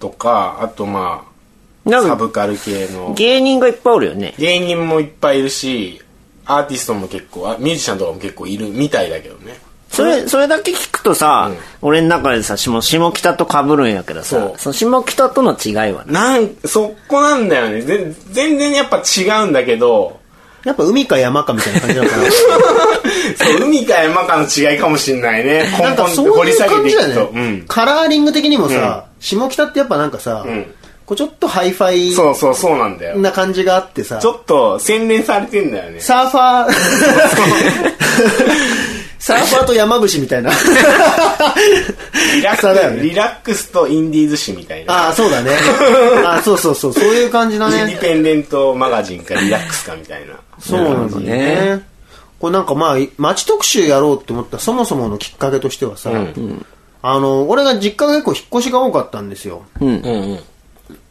Speaker 3: とか、あとまあ、
Speaker 2: な
Speaker 3: サ
Speaker 2: んか、
Speaker 3: ブカル系の。
Speaker 2: 芸人がいっぱいおるよね。
Speaker 3: 芸人もいっぱいいるし、アーティストも結構、あミュージシャンとかも結構いるみたいだけどね。
Speaker 2: それ、それだけ聞くとさ、俺の中でさ、下下北と被るんやけど
Speaker 3: そ
Speaker 2: さ
Speaker 3: う、
Speaker 2: その下北との違いはね。
Speaker 3: なん、そこなんだよね。ぜ全然やっぱ違うんだけど、
Speaker 1: やっぱ海か山かみたいな感じなのか な。
Speaker 3: そう、海か山かの違いかもしんないね。根
Speaker 1: なんか
Speaker 3: 本
Speaker 1: そ
Speaker 3: で
Speaker 1: う
Speaker 3: 掘
Speaker 1: い
Speaker 3: り
Speaker 1: う
Speaker 3: 下げ
Speaker 1: 感
Speaker 3: てい
Speaker 1: じだ
Speaker 3: く
Speaker 1: よ
Speaker 3: と。
Speaker 1: ね、カラーリング的にもさ、下北ってやっぱなんかさ、
Speaker 3: ん
Speaker 1: こうちょっとハイフ
Speaker 3: うん。
Speaker 1: ァ
Speaker 3: そうそうそうなんだ
Speaker 1: イ
Speaker 3: よ。
Speaker 1: な感じがあってさ
Speaker 3: ちょっと洗練されてんだよね。
Speaker 1: サーファ ーサーファーと山伏みたいな
Speaker 3: リラック
Speaker 1: 差だよ
Speaker 3: ス、
Speaker 1: ね
Speaker 3: リラックスとインディーズ誌みたいな。
Speaker 1: ああ、そうだね。ああ、そうそうそう。そういう感じだ
Speaker 3: インデ
Speaker 1: ね
Speaker 3: ィ。ペンデントマガジンかリラックスかみたいな。
Speaker 1: そうなんだよね。これなんかまあ、街特集やろうって思ったそもそものきっかけとしてはさ、あの、俺が実家が結構引っ越しが多かったんですよ。
Speaker 3: うんうん。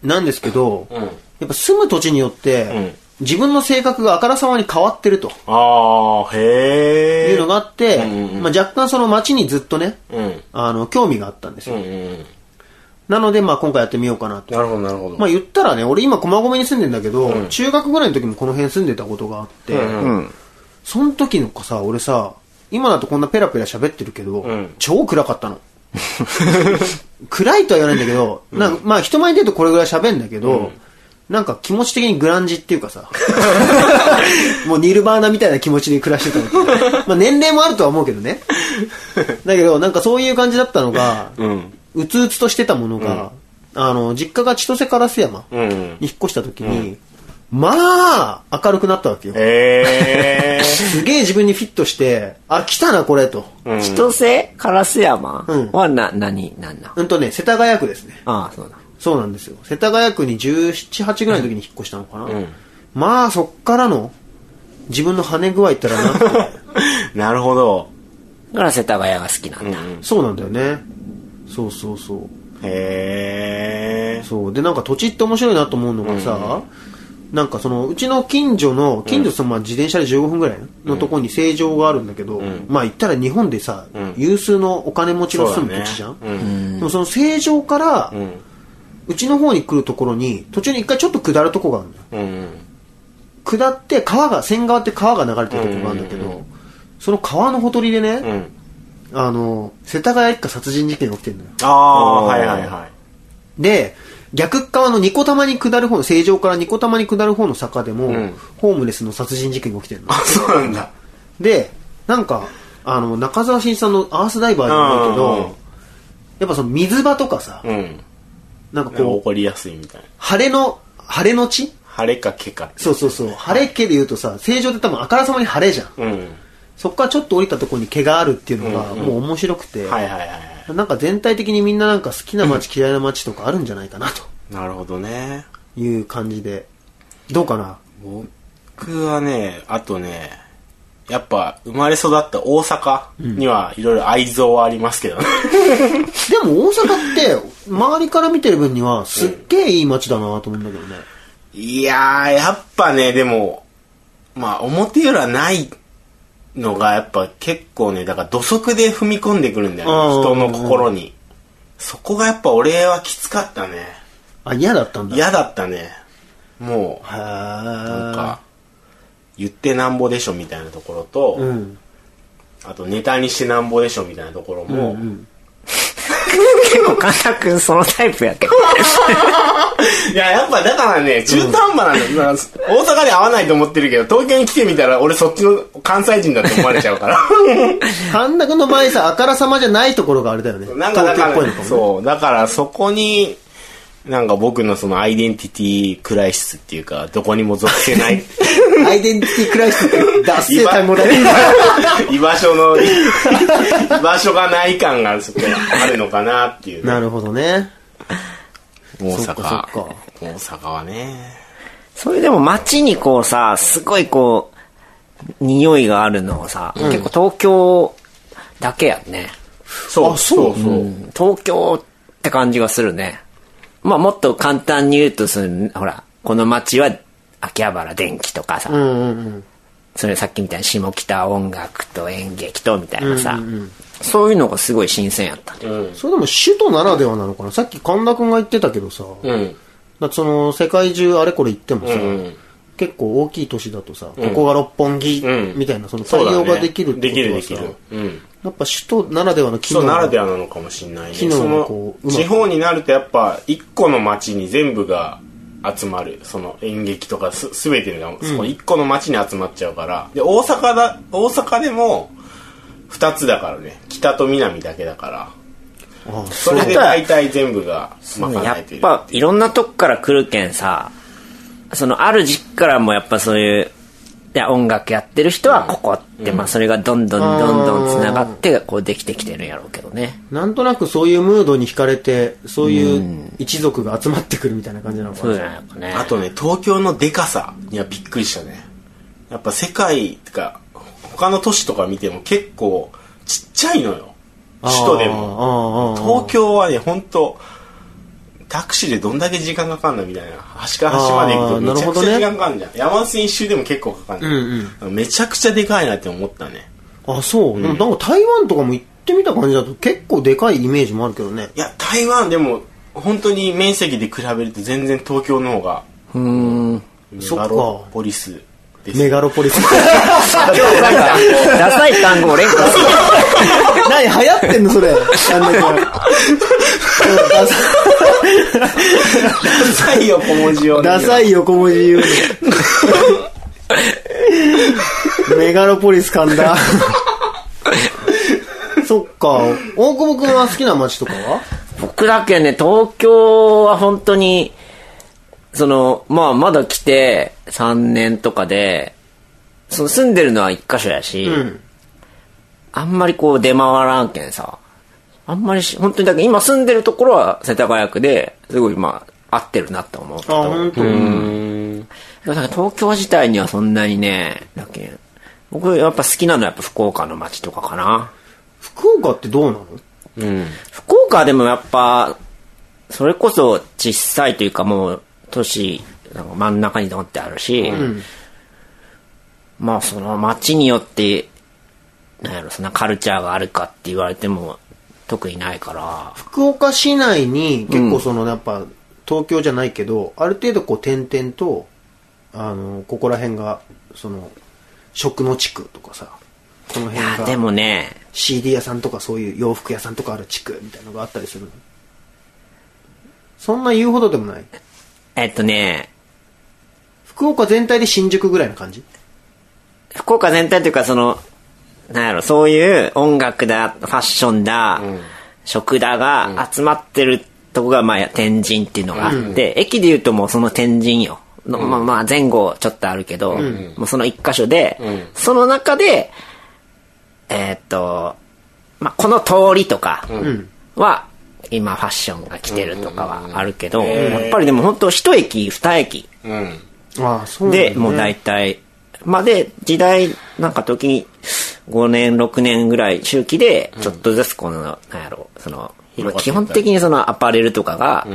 Speaker 1: なんですけど、やっぱ住む土地によって、自分の性格があからさまに変わってると
Speaker 3: ああ、へえ。
Speaker 1: いうのがあって、
Speaker 3: うんうん
Speaker 1: まあ、若干その街にずっとね、
Speaker 3: うん。
Speaker 1: あの、興味があったんです
Speaker 3: う
Speaker 1: よ。
Speaker 3: んうん。
Speaker 1: なので、まあ今回やってみようかなと。
Speaker 3: なるほど、なるほど。
Speaker 1: まあ言ったらね、俺今駒込に住んでんだけど、中学ぐらいの時もこの辺住んでたことがあって、
Speaker 5: うん。
Speaker 1: その時のさ、俺さ、今だとこんなペラペラ喋ってるけど、
Speaker 3: ん
Speaker 1: 超暗か ったの。暗いとは言わないんだけど、なんかまあ人前に出るとこれぐらい喋るんだけど、なんか気持ち的にグランジっていうかさ、 もうニルバーナみたいな気持ちで暮らしてたの。まあ年齢もあるとは思うけどね。だけど、なんかそういう感じだったのが、う
Speaker 3: うん。
Speaker 1: つうつとしてたものが、あの、実家が千歳烏山に
Speaker 3: うん。
Speaker 1: 引っ越した時に、まあ、明るくなったわけよ。
Speaker 3: へえ。
Speaker 1: すげえ自分にフィットして、あ、来たな、これ、と。
Speaker 2: 千歳烏山
Speaker 1: うん
Speaker 2: はな、何、何なん
Speaker 1: うんとね、世田谷区ですね。
Speaker 2: ああ、そうだ。
Speaker 1: そうなんですよ。世田谷区に17、8ぐらいの時に引っ越したのかな。まあ、そっからの、自分の跳ね具合ったらなって。
Speaker 3: なるほど。
Speaker 2: だから世田谷が好きなんだ。
Speaker 1: そうなんだよね。そうそうそう。
Speaker 3: へえ。
Speaker 1: そう。で、なんか土地って面白いなと思うのがさ、なんかその、うちの近所の、近所そのまあ自転車で15分ぐらいのとこに成城があるんだけど、まあ言ったら日本でさ、
Speaker 3: ん
Speaker 1: 有数のお金持ちの住む土地じゃん。
Speaker 3: そうだねうん
Speaker 1: でもその成城から、
Speaker 3: うん。
Speaker 1: うちの方に来るところに、途中に一回ちょっと下るとこがあるのよ。
Speaker 3: うん。
Speaker 1: 下って川が、線川って川が流れてるとこがあるんだけど、
Speaker 3: うんうんうん
Speaker 1: その川のほとりでね、
Speaker 3: うん。
Speaker 1: あの、世田谷一家殺人事件が起きてるのよ。
Speaker 3: ああ、はいはいはい。
Speaker 1: で、逆っ側のニコ玉に下る方の、正常からニコ玉に下る方の坂でも、
Speaker 3: うん
Speaker 1: ホームレスの殺人事件が起きてるの
Speaker 3: あ。、そうなんだ。
Speaker 1: で、なんか、あの、中澤慎一さんのアースダイバーじゃないけ
Speaker 3: うんうんうん
Speaker 1: ど、やっぱその水場とかさ、
Speaker 3: うん。
Speaker 1: なんかこう、
Speaker 3: 怒りやすいみたいな。
Speaker 1: 晴れの、晴れの地
Speaker 3: 晴れかけか。
Speaker 1: そうそうそう。晴れ家で言うとさ、正常って多分あからさまに晴れじゃん。
Speaker 3: うん。
Speaker 1: そこからちょっと降りたところに毛があるっていうのが、もう面白くて、
Speaker 3: はいはいはいはい。
Speaker 1: なんか全体的にみんななんか好きな街、嫌いな街とかあるんじゃないかな
Speaker 3: なるほどね。
Speaker 1: という感じで。どうかな
Speaker 3: 僕はね、あとね、やっぱ生まれ育った大阪にはいろいろ愛憎はありますけどね。
Speaker 1: でも大阪って、周りから見てる分には、すっげえいい街だなと思うんだけどね。
Speaker 3: いやー、やっぱね、でも、まあ表裏ないのがやっぱ結構ね、だから土足で踏み込んでくるんだ
Speaker 1: うん
Speaker 3: よ、ね、人の心に。そこがやっぱ俺はきつかったね。
Speaker 1: あ、嫌だったんだ。
Speaker 3: 嫌だったね。も
Speaker 1: へー。
Speaker 3: う、なんか、言ってなんぼでしょみたいなところと、
Speaker 1: うん。
Speaker 3: あとネタにしてなんぼでしょみたいなところも、
Speaker 2: 結構、神田くんそのタイプやけど。
Speaker 3: いや、やっぱだからね、中途半端なんだよ、大阪で会わないと思ってるけど、東京に来てみたら俺そっちの関西人だって思われちゃう から。
Speaker 1: 神田君の場合さ、あからさまじゃないところがあれだよね。
Speaker 3: なんかだか
Speaker 1: 東京っぽい
Speaker 3: ら、
Speaker 1: のかもね。
Speaker 3: そう、だからそこに、なんか僕のそのアイデンティティクライシスっていうか、どこにも属せない。
Speaker 1: アイデンティティクライシスって、脱
Speaker 3: 居
Speaker 1: 世
Speaker 3: 場
Speaker 1: 単語だね。
Speaker 3: 居場所の、 居場所がない感がそこにあるのかなっていう。
Speaker 1: なるほどね。
Speaker 3: 大
Speaker 1: そっかそっ
Speaker 3: 阪
Speaker 1: か。
Speaker 3: 大阪はね。
Speaker 2: それでも街にこうさ、すごいこう、匂いがあるのをさ、結構東京だけやね。
Speaker 3: そう、そうそう
Speaker 2: う。ん東京って感じがするね。まあもっと簡単に言うとその、ほら、この街は秋葉原電気とかさ、
Speaker 1: うんうんうん。
Speaker 2: それさっきみたいに下北音楽と演劇とみたいなさ、そういうのがすごい新鮮やったね。
Speaker 1: それでも首都ならではなのかなさっき神田君が言ってたけどさ、
Speaker 3: うん。
Speaker 1: だってその世界中あれこれ行ってもさ、
Speaker 3: うん
Speaker 1: 結構大きい都市だとさ、ここが六本木
Speaker 3: うん
Speaker 1: みたいなその
Speaker 3: そう
Speaker 1: 対
Speaker 3: だね
Speaker 1: 応ができるって
Speaker 3: できる
Speaker 1: こ
Speaker 3: で
Speaker 1: と
Speaker 3: き
Speaker 1: はさ、
Speaker 3: る。うん。
Speaker 1: やっぱ首都ならではの機
Speaker 3: そう
Speaker 1: 能
Speaker 3: ならで
Speaker 1: は
Speaker 3: はなのかもしれないね。
Speaker 1: 機
Speaker 3: そ
Speaker 1: 能がこ
Speaker 3: の
Speaker 1: ううまく
Speaker 3: 地方になるとやっぱ一個の町に全部が集まる。その演劇とかす全てがその一個の町に集まっちゃうから。で大阪だ大阪でも二つだからね。北と南だけだから。
Speaker 1: ああ
Speaker 3: それで大体全部が賄
Speaker 2: や
Speaker 3: え
Speaker 2: って
Speaker 3: いる。
Speaker 2: ぱいろんなとこから来るけんさそのある時期からもやっぱそういうで音楽やってる人はここって、まあそれがどんどんどんどん繋がって、こうできてきてるんやろうけどね。
Speaker 1: なんとなくそういうムードに惹かれて、そういう一族が集まってくるみたいな感じなのか
Speaker 2: そう
Speaker 1: な。
Speaker 2: じゃないのかね。
Speaker 3: あとね、東京のデカさにはびっくりしたね。やっぱ世界ってか、他の都市とか見ても結構ちっちゃいのよ。首都でも。
Speaker 1: も
Speaker 3: 東京はね、ほんと、タクシーでどんだけ時間かかんのみたいな。端から端まで行くとめちゃくちゃ時間かかんじゃん。山手線一周でも結構かかんじゃん。めちゃくちゃでかいなって思ったね。
Speaker 1: あ、そう。でもなんか台湾とかも行ってみた感じだと結構でかいイメージもあるけどね。
Speaker 3: いや、台湾でも本当に面積で比べると全然東京の方が、メ
Speaker 1: そっか
Speaker 3: ガロポリスです。
Speaker 1: メガロポリス。
Speaker 2: ダサい単 語を連呼する。
Speaker 1: 何流行ってんのそれ。あんだけうんダサ
Speaker 3: ダサいよ、小文字を。
Speaker 1: ダサい横文字言うのメガロポリス噛んだ。そっか。大久保くんは好きな街とかは
Speaker 2: 僕だけね、東京は本当に、その、まあまだ来て3年とかで、その住んでるのは一箇所やし、
Speaker 1: うん。
Speaker 2: あんまりこう出回らんけんさ。あんまりし、本当にだけど今住んでるところは世田谷区で、すごいまあ、合ってるなって思うけ
Speaker 1: あ、
Speaker 2: ど。
Speaker 1: ほんと。
Speaker 2: だから東京自体にはそんなにね、だけん僕やっぱ好きなのはやっぱ福岡の街とかかな。
Speaker 1: 福岡ってどうなの
Speaker 2: 福岡でもやっぱ、それこそ小さいというかもう都市、なんか真ん中にドンってあるし、まあその街によって、なんやろ、そんなカルチャーがあるかって言われても特にないから、
Speaker 1: 福岡市内に結構そのやっぱ東京じゃないけど、ある程度こう点々とあのここら辺がその食の地区とかさこの
Speaker 2: いや、
Speaker 1: 辺
Speaker 2: で
Speaker 1: が
Speaker 2: もね、
Speaker 1: CD 屋さんとかそういう洋服屋さんとかある地区みたいなのがあったりするのそんな言うほどでもない
Speaker 2: えっとね、
Speaker 1: 福岡全体で新宿ぐらいな感じ
Speaker 2: 福岡全体というかその、なんやろ、そういう音楽だ、ファッションだ、食だが集まってるとこが、まあ、天神っていうのがあって、駅で言うともうその天神よ。のまあまあ前後ちょっとあるけど、もうその一箇所で、その中で、えーっと、まあ、この通りとかは、今ファッションが来てるとかはあるけど、やっぱりでも本当一駅二駅
Speaker 3: うん。
Speaker 1: ああそうなんだ、ね、
Speaker 2: で、もう大体、まあで、時代、なんか時に、5年、6年ぐらい周期で、ちょっとずつこの、なんやろ、その、基本的にそのアパレルとかが、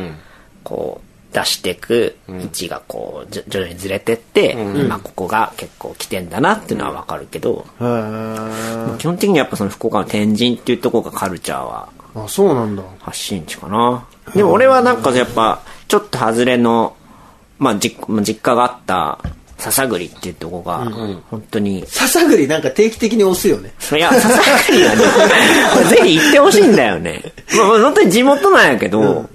Speaker 2: こう、出してく位置がこう、じょ徐々にずれてって、まあここが結構来てんだなっていうのはわかるけど、
Speaker 1: へー
Speaker 2: 基本的にやっぱその福岡の天神っていうところがカルチャーは
Speaker 1: あそうなんだ
Speaker 2: 発信地かな。でも俺はなんかやっぱ、ちょっと外れの、まあ実まあ実家があった笹栗っていうとこが、本当に、
Speaker 1: 笹栗なんか定期的に押すよね
Speaker 2: いや、笹栗 はね、これぜひ行ってほしいんだよ ね。まあまあ本当に地元なんやけど、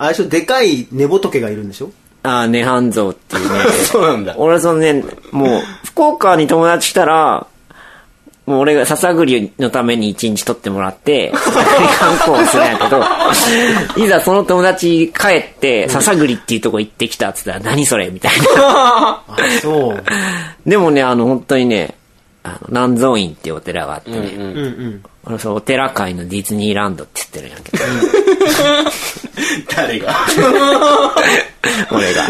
Speaker 1: あれでしょでかい寝仏がいるんでしょ
Speaker 2: ああ、涅槃像っていうね。
Speaker 3: そうなんだ。
Speaker 2: 俺はそのね、もう、福岡に友達来たら、もう俺が笹栗のために一日取ってもらって、笹栗観光をするんやけど、いざその友達帰って、笹栗っていうとこ行ってきたっつったら、何それみたいな。
Speaker 1: あそう
Speaker 2: でもね、あの、本当にね、あの、南蔵院っていうお寺があってね、
Speaker 1: うんうん
Speaker 2: 俺はそのお寺界のディズニーランドって言ってるんやけど、
Speaker 3: 誰が
Speaker 2: 俺が。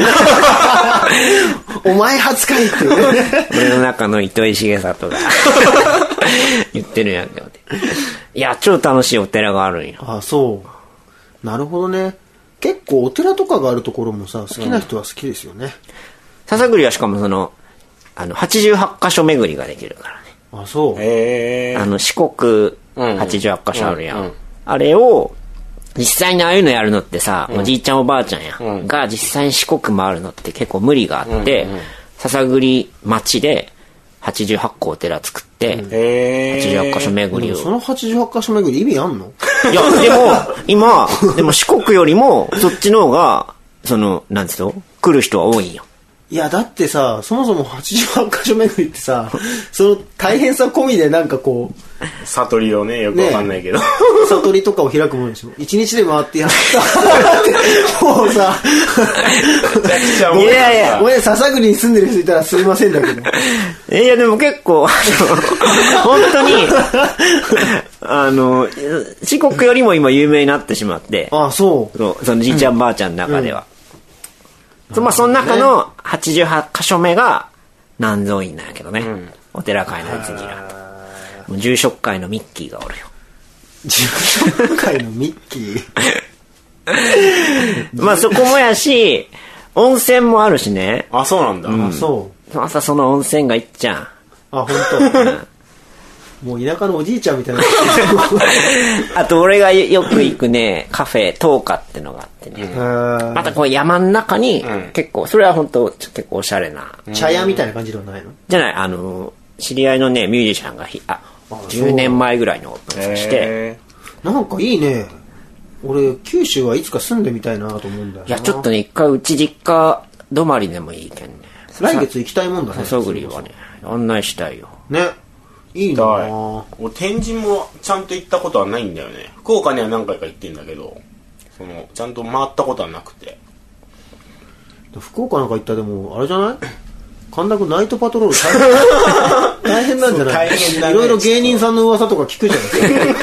Speaker 1: お前初回っていうね
Speaker 2: 俺の中の糸井重里が 言ってるんやけどね。いや、超楽しいお寺があるんよ。
Speaker 1: あそうなるほどね結構お寺とかがあるところもさ好きな人は好きですよね、
Speaker 2: 笹栗はしかもその、あの、88箇所巡りができるからね。
Speaker 1: あそう
Speaker 3: え
Speaker 2: あの、四国
Speaker 3: うん
Speaker 2: 88箇所あるや
Speaker 3: うんうんん。
Speaker 2: あれを、実際にああいうのやるのってさ、おじいちゃんおばあちゃんや、が実際に四国回るのって結構無理があって、笹栗町で88個お寺作って、
Speaker 3: え
Speaker 2: 88箇所巡
Speaker 1: で
Speaker 2: り
Speaker 1: も
Speaker 2: を
Speaker 1: その88箇所巡り意味あんの
Speaker 2: いや、でも、今、でも四国よりも、そっちの方が、その、なんつうの来る人は多いんよ。
Speaker 1: いや、だってさ、そもそも88箇所巡りってさ、その大変さ込みでなんかこう、
Speaker 3: 悟りをね、よくわかんないけど。
Speaker 1: 悟りとかを開くものでしょ。一日で回ってやった。もう さ、
Speaker 3: めちゃくちゃ
Speaker 1: ご
Speaker 3: 面白
Speaker 1: めん
Speaker 3: かった
Speaker 1: いやいや、俺、笹栗に住んでる人いたらすいませんだけど。
Speaker 2: いや、でも結構、あの、本当に、あの、四国よりも今有名になってしまって、
Speaker 1: あ、そう。
Speaker 2: そうそのじいちゃんばあちゃんの中では。そまあ、その中の88箇所目が南蔵院なんやけどね。お寺会の次が。もう住職会のミッキーがおるよ。
Speaker 1: 今回のミッキー。
Speaker 2: まあそこもやし、温泉もあるしね。
Speaker 3: あ、そうなんだ。
Speaker 1: あ、そう。
Speaker 2: 朝その温泉がいっちゃん。
Speaker 1: あ、本当。もう田舎のおじいちゃんみたいな。
Speaker 2: あと俺がよく行くね、カフェ、トーカってのがあってね。
Speaker 1: へ
Speaker 2: またこう山の中に
Speaker 3: ん
Speaker 2: 結構、それは本当ちょ結構おしゃれな。
Speaker 1: ー茶屋みたいな感じではないの
Speaker 2: じゃない、あの、知り合いのね、ミュージシャンがひ、あ、
Speaker 1: そう
Speaker 2: 10年前ぐらいのオープン
Speaker 3: へー
Speaker 2: して、
Speaker 1: なんかいいね。俺、九州はいつか住んでみたいなと思うんだよな。
Speaker 2: いや、ちょっとね、一回うち実家泊まりでもいいけんね。
Speaker 1: 来月行きたいもんだね。
Speaker 2: 笹栗はね、案内したいよ。
Speaker 1: ね。いいな
Speaker 3: はい
Speaker 1: ぁ。
Speaker 3: 俺、天神もちゃんと行ったことはないんだよね。福岡には何回か行ってんだけど、その、ちゃんと回ったことはなくて。
Speaker 1: 福岡なんか行ったらでも、あれじゃない神田君ナイトパトロール大変大変なんじゃない
Speaker 3: そう大変だね
Speaker 1: いろいろ芸人さんの噂とか聞くじゃない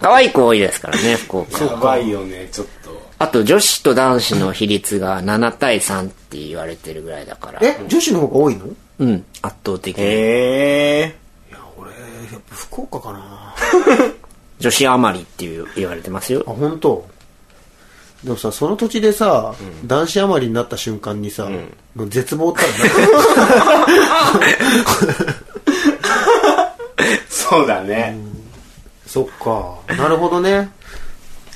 Speaker 2: 可愛い子多いですからね、福岡。
Speaker 3: やばいよね、ちょっと。
Speaker 2: あと女子と男子の比率が7対3って言われてるぐらいだから。
Speaker 1: え、女子の方が多いの
Speaker 2: うん、圧倒的に。
Speaker 3: へえ。
Speaker 1: 俺、やっぱ福岡かなぁ。
Speaker 2: 女子余りっていう言われてますよ
Speaker 1: あ、。本当。でもさ、その土地でさ、男子余りになった瞬間にさ、もう絶望ったら な
Speaker 3: そうだね。
Speaker 1: そっか。なるほどね。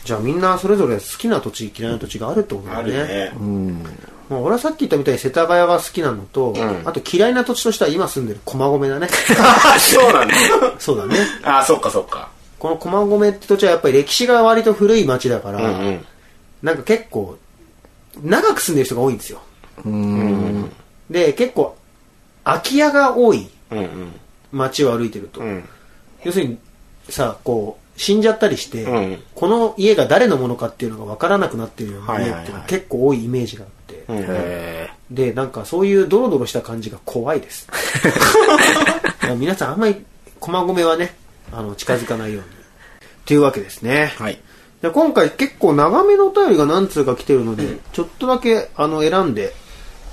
Speaker 1: じゃあみんなそれぞれ好きな土地、嫌いな土地があるってこと
Speaker 3: あ
Speaker 1: だ
Speaker 3: るね。
Speaker 1: まあ、俺はさっき言ったみたいに世田谷が好きなのと、
Speaker 3: ん
Speaker 1: あと嫌いな土地としては今住んでる駒込 だね。
Speaker 3: あ、そうなんだ。
Speaker 1: そうだね。
Speaker 3: あ、そっかそっか。
Speaker 1: この駒込って土地はやっぱり歴史が割と古い町だから、
Speaker 3: うん。
Speaker 1: なんか結構、長く住んでる人が多いんですよ。で、結構、空き家が多い
Speaker 3: うんうん。
Speaker 1: 町を歩いてると。
Speaker 3: ん
Speaker 1: 要するに、さ、こう、死んじゃったりして、
Speaker 3: うん
Speaker 1: この家が誰のものかっていうのが分からなくなってるような
Speaker 3: はい
Speaker 1: 家
Speaker 3: は
Speaker 1: っ
Speaker 3: いはい
Speaker 1: ていうのが結構多いイメージがあって、
Speaker 2: へ
Speaker 1: で、なんかそういうドロドロした感じが怖い です。皆さんあんまり駒込はね、あの、近づかないように。というわけですね。
Speaker 3: はい。
Speaker 1: で今回結構長めのお便りが何通か来てるので、ちょっとだけあの選んで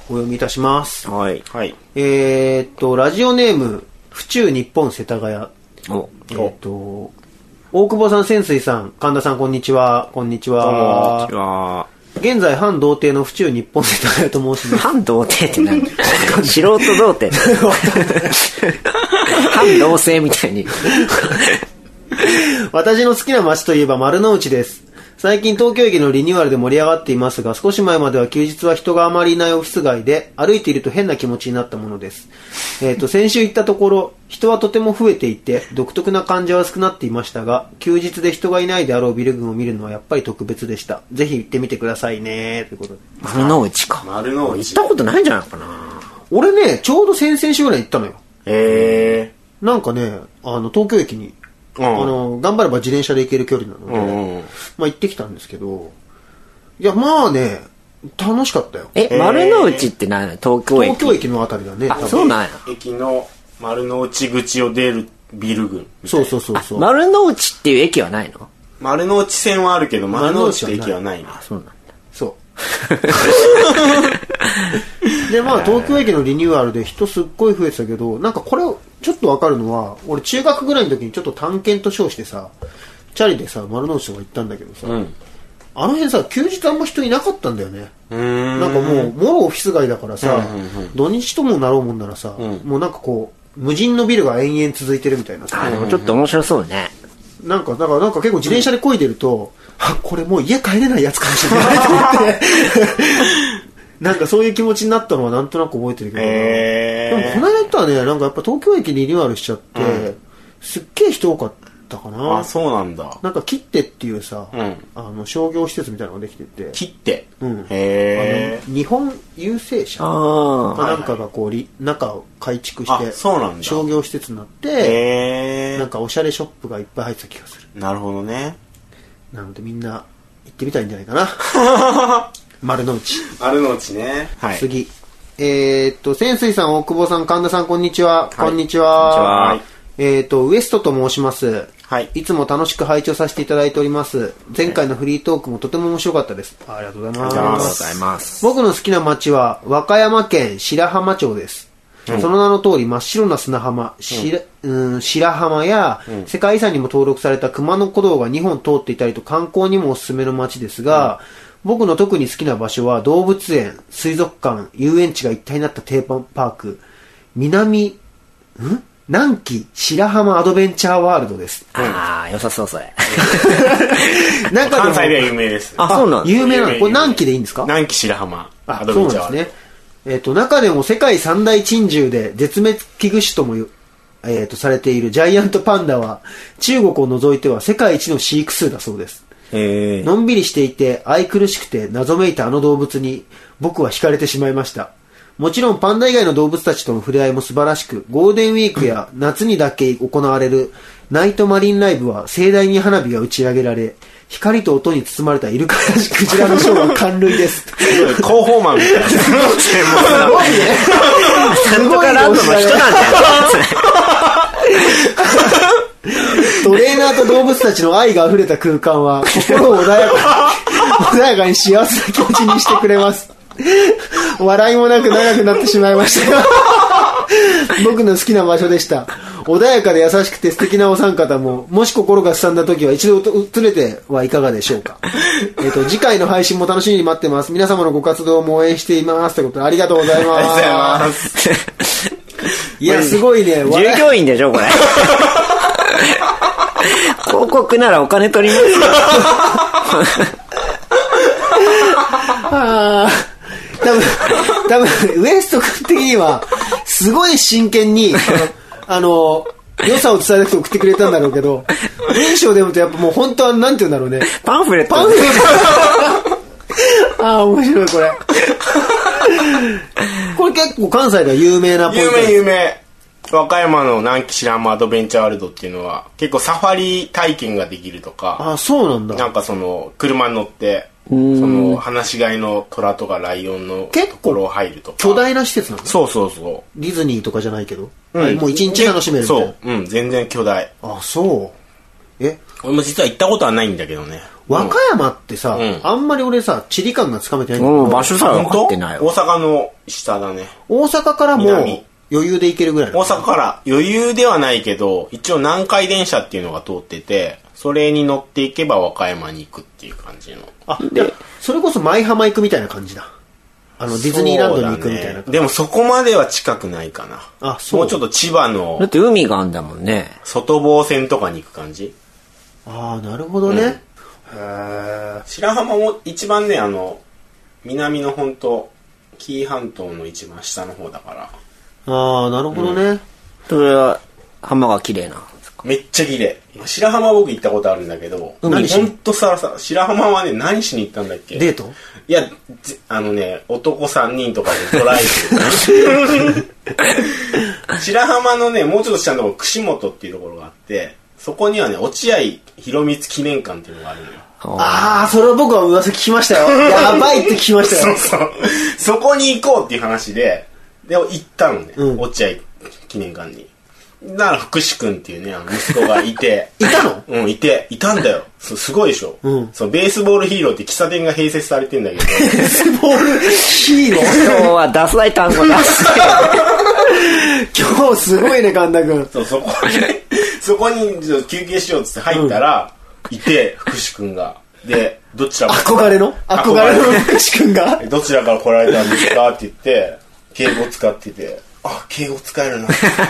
Speaker 1: お読みいたします
Speaker 2: ー。はい。
Speaker 3: はい。
Speaker 1: えー、っと、ラジオネーム、府中日本世田谷。
Speaker 2: お、
Speaker 1: えー、っと、大久保さん、潜水さん、神田さん、こんにちは。こんにちは。
Speaker 2: は、
Speaker 1: 現在、反童貞の府中日本世田谷と申します。
Speaker 2: 反童貞って何素人童 貞反同性みたいに。
Speaker 1: 私の好きな街といえば丸の内です。最近東京駅のリニューアルで盛り上がっていますが、少し前までは休日は人があまりいないオフィス街で、歩いていると変な気持ちになったものです。えっ、と、先週行ったところ、人はとても増えていて、独特な感じは少なっていましたが、休日で人がいないであろうビル群を見るのはやっぱり特別でした。ぜひ行ってみてくださいね、ということで。
Speaker 2: 丸の内か。
Speaker 3: 丸の
Speaker 2: 行っ
Speaker 3: 内。
Speaker 2: たことないんじゃないかな。
Speaker 1: 俺ね、ちょうど先々週ぐらい行ったのよ。
Speaker 3: へえ。
Speaker 1: なんかね、あの、東京駅に、
Speaker 3: うん
Speaker 1: あの、頑張れば自転車で行ける距離なので、
Speaker 3: うんうん。
Speaker 1: まあ行ってきたんですけど、いや、まあね、楽しかったよ。
Speaker 2: え、丸の内って何東京駅
Speaker 1: 東京駅のあたりだね。
Speaker 2: あ、そうなんや。
Speaker 3: 駅の丸の内口を出るビル群。
Speaker 1: そうそうそうそう。
Speaker 2: 丸の内っていう駅はないの
Speaker 3: 丸の内線はあるけど、丸の内って駅はないな。
Speaker 2: そうなんだ。
Speaker 1: そう。で、まあ、東京駅のリニューアルで人すっごい増えてたけど、なんかこれ、ちょっとわかるのは、俺中学ぐらいの時にちょっと探検と称してさ、チャリでさ、丸の内とか行ったんだけどさ、あの辺さ、休日あんま人いなかったんだよね。なんかもう、もろオフィス街だからさ、土日ともなろうもんならさ、もうなんかこう、無人のビルが延々続いてるみたいなさ。
Speaker 2: あ、でもちょっと面白そうね。
Speaker 1: なんか、だからなんか結構自転車で漕いでると、あ、これもう家帰れないやつかもしれないと思って、なんかそういう気持ちになったのはなんとなく覚えてるけどな、
Speaker 3: へ
Speaker 1: でもこの間行ったらね、なんかやっぱ東京駅リニューアルしちゃって、すっげえ人多かっったかな
Speaker 3: あ、そうなんだ。
Speaker 1: なんか切ってっていうさ、
Speaker 3: うん
Speaker 1: あの商業施設みたいなのができてて
Speaker 3: 切って。
Speaker 1: うん
Speaker 3: へ
Speaker 1: あの日本郵政社か
Speaker 2: あ
Speaker 1: なんかがこうり中を改築し
Speaker 3: あ
Speaker 1: て
Speaker 3: そうなんだ
Speaker 1: 商業施設になっ
Speaker 3: え。
Speaker 1: て
Speaker 3: へえ。
Speaker 1: なんかおしゃれショップがいっぱい入ってた気がする
Speaker 3: なるほどね。
Speaker 1: なのでみんな行ってみたいんじゃないかな 丸の内
Speaker 3: あるのうちね。はい。
Speaker 1: 次えーっと潜水さん大久保さん神田さんこんにちは、こんにち
Speaker 3: こ
Speaker 1: は
Speaker 3: んにちは
Speaker 1: えーっとウエストと申します
Speaker 3: はい
Speaker 1: いつも楽しく拝聴させていただいております前回のフリートークもとても面白かったですありがとうござい
Speaker 3: あ
Speaker 1: ま
Speaker 3: り
Speaker 1: す
Speaker 3: がとうございます。
Speaker 1: 僕の好きな町は和歌山県白浜町です、その名の通り真っ白な砂浜、しらうん白浜や、世界遺産にも登録された熊野古道が2本通っていたりと観光にもおすすめの町ですが、僕の特に好きな場所は動物園、水族館、遊園地が一体になったテーマパーク、南、ん南紀白浜アドベンチャーワールドです。
Speaker 2: あ。ああ、良さそう、それ。
Speaker 1: 中
Speaker 3: 関西では有名です。
Speaker 2: あ、そうなんだ。
Speaker 1: 有名なのこれ南紀でいいんですか
Speaker 3: 南紀白浜。
Speaker 1: あ
Speaker 3: ア、ド
Speaker 1: そ
Speaker 3: ベ
Speaker 1: う
Speaker 3: ンチャー
Speaker 1: なんですね。えっ、と、中でも世界三大珍獣で絶滅危惧種ともよ、えっ、と、されているジャイアントパンダは、中国を除いては世界一の飼育数だそうです。
Speaker 2: へえ。
Speaker 1: のんびりしていて、愛くるしくて、謎めいたあの動物に、僕は惹かれてしまいました。もちろんパンダ以外の動物たちとの触れ合いも素晴らしく、ゴールデンウィークや夏にだけ行われるナイトマリンライブは盛大に花火が打ち上げられ、光と音に包まれたイルカやクジラのショーは感類です。
Speaker 3: すごい広報マンみたい な。専門
Speaker 1: すごいね。
Speaker 3: な
Speaker 1: すごい
Speaker 2: ランドの人なんだよ。
Speaker 1: トレーナーと動物たちの愛が溢れた空間は、心を穏やかに、穏やかに幸せな気持ちにしてくれます。笑いもなく長くなってしまいましたが、僕の好きな場所でした。穏やかで優しくて素敵なお三方も、もし心がすさんだ時は一度訪れてはいかがでしょうか。えっ、と、次回の配信も楽しみに待ってます。皆様のご活動も応援しています。ということで、ありがとうございます。
Speaker 3: ありがとうございます。
Speaker 1: いや、すごいね。
Speaker 2: 従
Speaker 1: 笑い
Speaker 2: 業員でし ょ、これ。広告ならお金取りますよ。
Speaker 1: あー多分、多分、ウエスト君的には、すごい真剣に、あの、良さを伝えたくて送ってくれたんだろうけど、文章でもとやっぱもう本当は、なんて言うんだろうね。
Speaker 2: パンフレット。
Speaker 1: パンフレット。ああ、面白いこれ。これ結構関西では有名なポイン
Speaker 3: 有
Speaker 1: ト
Speaker 3: 名
Speaker 1: です。
Speaker 3: 有名。和歌山の南紀白浜アドベンチャーワールドっていうのは、結構サファリ体験ができるとか。
Speaker 1: ああ、そうなん
Speaker 3: な
Speaker 1: だ。
Speaker 3: んかその、車に乗って、その、放し飼いの虎とかライオンの
Speaker 1: 結構
Speaker 3: ところを入るとか。
Speaker 1: 巨大な施設なんです。
Speaker 3: そうそうそ
Speaker 1: ディズニーとかじゃないけど。
Speaker 3: う。うん、
Speaker 1: もう一日楽しめるみたいな。
Speaker 3: そう。うん、全然巨大。
Speaker 1: あ、そう。え、
Speaker 3: 俺も実は行ったことはないんだけどね。
Speaker 1: 和歌山ってさ、
Speaker 3: うん
Speaker 1: あんまり俺さ、地理感がつかめてないんだけど
Speaker 2: もう場所さえ分かってない
Speaker 3: 大
Speaker 2: わ。
Speaker 3: 阪の下だね。
Speaker 1: 大阪からもう
Speaker 3: 南
Speaker 1: 余裕で行けるぐらいな
Speaker 3: 大
Speaker 1: の
Speaker 3: 阪から余裕ではないけど、一応南海電車っていうのが通ってて、それに乗っていけば和歌山に行くっていう感じの。
Speaker 1: あでそれこそ舞浜行くみたいな感じだあのディズニーランドに行くみたい
Speaker 3: そう
Speaker 1: な、
Speaker 3: だねでもそこまでは近くないかな。
Speaker 1: あそう
Speaker 3: もうちょっと千葉の
Speaker 2: だって海があんだもんね。
Speaker 3: 外房線とかに行く感じ
Speaker 1: ああなるほどね、へえ
Speaker 3: 白浜も一番ねあの南の本当紀伊半島の一番下の方だから
Speaker 1: ああなるほどね、
Speaker 2: それは、浜が綺麗な。
Speaker 3: めっちゃ綺麗白浜僕行ったことあるんだけど
Speaker 1: 海に
Speaker 3: ほんとさらさ白浜はね何しに行ったんだっけ
Speaker 1: デート
Speaker 3: いやぜあのね男3人とかでドライ ブ白浜のねもうちょっと下のところ串本っていうところがあってそこにはね落合博光記念館っていうのがあるのよ
Speaker 1: ああそれは僕は噂聞きま したよやばいって聞きました
Speaker 3: そう
Speaker 1: よ
Speaker 3: そう。そこに行こうっていう話で、で、行ったのね。
Speaker 1: うん
Speaker 3: 落合記念館に。だから、福士君っていうね、あの息子がいて。
Speaker 1: いたの
Speaker 3: うん、いて、いたんだよ。そうすごいでしょ。
Speaker 1: うん
Speaker 3: そのベースボールヒーローって喫茶店が併設されてんだけど、
Speaker 1: ボールヒーロー
Speaker 2: 今日はダサい単語出して。
Speaker 1: 今日すごいね神田君
Speaker 3: そうそこに、 そこにちょっと休憩しようっつって入ったら、いて、福士君が。で、どちらも
Speaker 1: 憧れの憧れの福士君が
Speaker 3: どちらから来られたんですかって言って、敬語使ってて、あ、敬語使えるな。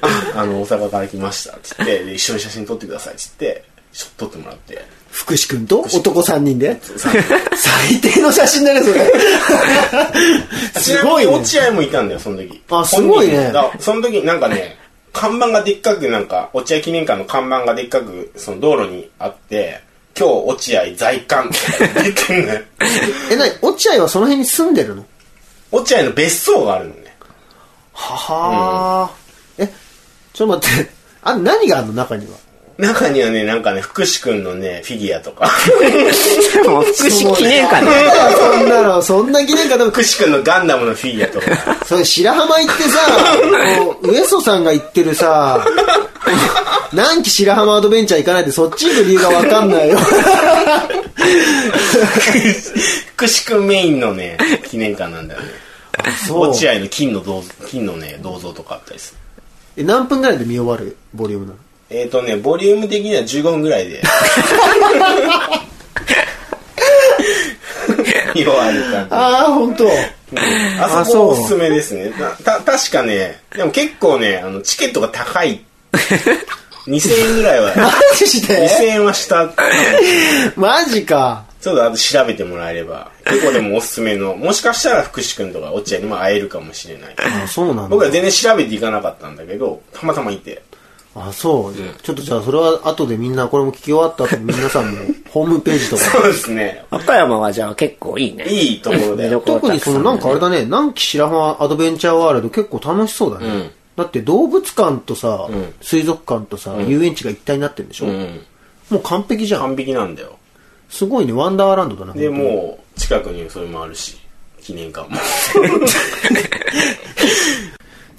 Speaker 3: ああの、大阪から来ました。って言って、で一緒に写真撮ってください。って言って、ちょっと撮ってもらって。
Speaker 1: 福士君と男3人で
Speaker 3: さ
Speaker 1: 最低の写真だねそれ すごい
Speaker 3: ち
Speaker 1: ね
Speaker 3: なみに落合もいたんだよ、その時。
Speaker 1: あすごいね
Speaker 3: 本人だからその時、なんかね、看板がでっかくなんか、落合記念館の看板がでっかく、その道路にあって、今日落合 在館って言ってんのよ。
Speaker 1: え、なに落合はその辺に住んでるの
Speaker 3: 落合の別荘があるのね。
Speaker 1: ははー、え、ちょっと待って。 あ、何があるの中には。
Speaker 3: 中にはね、なんかね、福士くんのね、フィギュアと か、
Speaker 2: もう福祉記念館ね。
Speaker 1: そんなの、そんな記念館でも、
Speaker 3: 福士くんのガンダムのフィギュアとか、
Speaker 1: それ白浜行ってさ、もう、ウエソさんが行ってるさ、 南紀白浜アドベンチャー行かないでそっち行く理由がわかんないよ。
Speaker 3: 福士くんメインのね、記念館なんだよね。
Speaker 1: そう。
Speaker 3: 落合の金の銅像、金のね、銅像とかあったりす
Speaker 1: え、
Speaker 3: る。
Speaker 1: 何分ぐらいで見終わるボリュームなの
Speaker 3: えーとね、ボリューム的には15分ぐらいで。見終わる感じ。
Speaker 1: ああ、本当。
Speaker 3: あそこおすすめですね。なた、確かね、でも結構ね、あの、チケットが高い。2000円ぐらいは、
Speaker 1: マジ
Speaker 3: 2000
Speaker 1: で
Speaker 3: 円はした。
Speaker 1: マジか。
Speaker 3: ちょっとあと調べてもらえれば、結構でもおすすめの、もしかしたら福士くんとか落合にも会えるかもしれない。
Speaker 1: あ、そうなんだ
Speaker 3: 僕。は全然調べていかなかったんだけど、たまたまいて。
Speaker 1: あ、そう。ちょっとじゃあ、それは後でみんな、これも聞き終わった後、皆さんも、ホームページとか。
Speaker 3: そうですね。
Speaker 2: 岡山はじゃあ結構いいね。
Speaker 3: いいところ
Speaker 2: 見
Speaker 3: だよ
Speaker 2: ど。ころ
Speaker 1: 特に
Speaker 2: たくさ
Speaker 1: そ
Speaker 2: ん
Speaker 1: の
Speaker 2: ね
Speaker 1: なんかあれだね、南紀白浜アドベンチャーワールド結構楽しそうだね。だって動物館とさ、水族館とさ、遊園地が一体になってるんでしょ、
Speaker 3: うん。
Speaker 1: もう完璧じゃん。
Speaker 3: 完璧なんだよ。
Speaker 1: すごいね、ワンダーランドだな。
Speaker 3: で、もう、近くにそれもあるし、記念館も。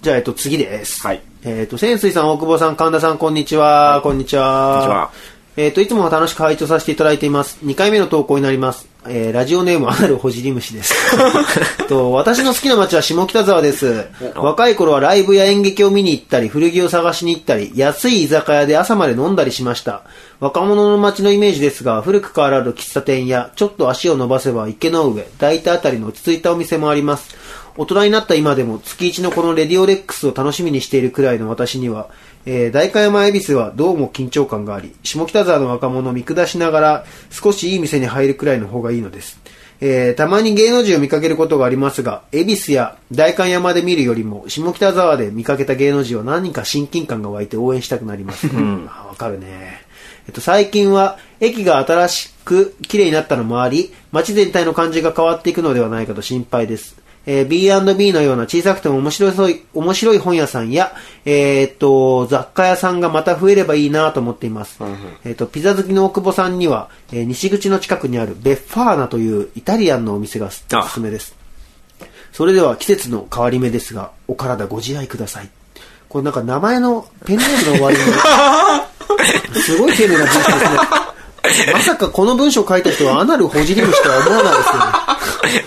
Speaker 1: じゃあ、えっと、次です。
Speaker 3: はい
Speaker 1: えっと、潜水さん、大久保さん、神田さん、こんにちは。こんにちは。
Speaker 2: こんにちは
Speaker 1: えっと、いつもは楽しく拝聴させていただいています。2回目の投稿になります。えー、ラジオネーム、アナルホジリムシです。 えっと、私の好きな街は下北沢です。若い頃はライブや演劇を見に行ったり、古着を探しに行ったり、安い居酒屋で朝まで飲んだりしました。若者の街のイメージですが、古くからある喫茶店や、ちょっと足を伸ばせば池の上、大体あたりの落ち着いたお店もあります。大人になった今でも月一のこのレディオレックスを楽しみにしているくらいの私には、えー、大山恵比寿はどうも緊張感があり、下北沢の若者を見下しながら少しいい店に入るくらいの方がいいのです。えー、たまに芸能人を見かけることがありますが、恵比寿や代官山で見るよりも、下北沢で見かけた芸能人は何か親近感が湧いて応援したくなります。あわかるね。えっと、最近は駅が新しく綺麗になったのもあり、街全体の感じが変わっていくのではないかと心配です。えー B&B のような小さくても面白いそうい、面白い本屋さんや、えーっと、雑貨屋さんがまた増えればいいなと思っています。えーっと、ピザ好きの大久保さんには、えー西口の近くにあるベッファーナというイタリアンのお店がす
Speaker 2: あ
Speaker 1: おすすめです。それでは季節の変わり目ですが、お体ご自愛ください。これなんか名前のペンネームの終わり に、すごい丁寧な文章ですね。まさかこの文章を書いた人はアナルほじり虫とは思わないですよね。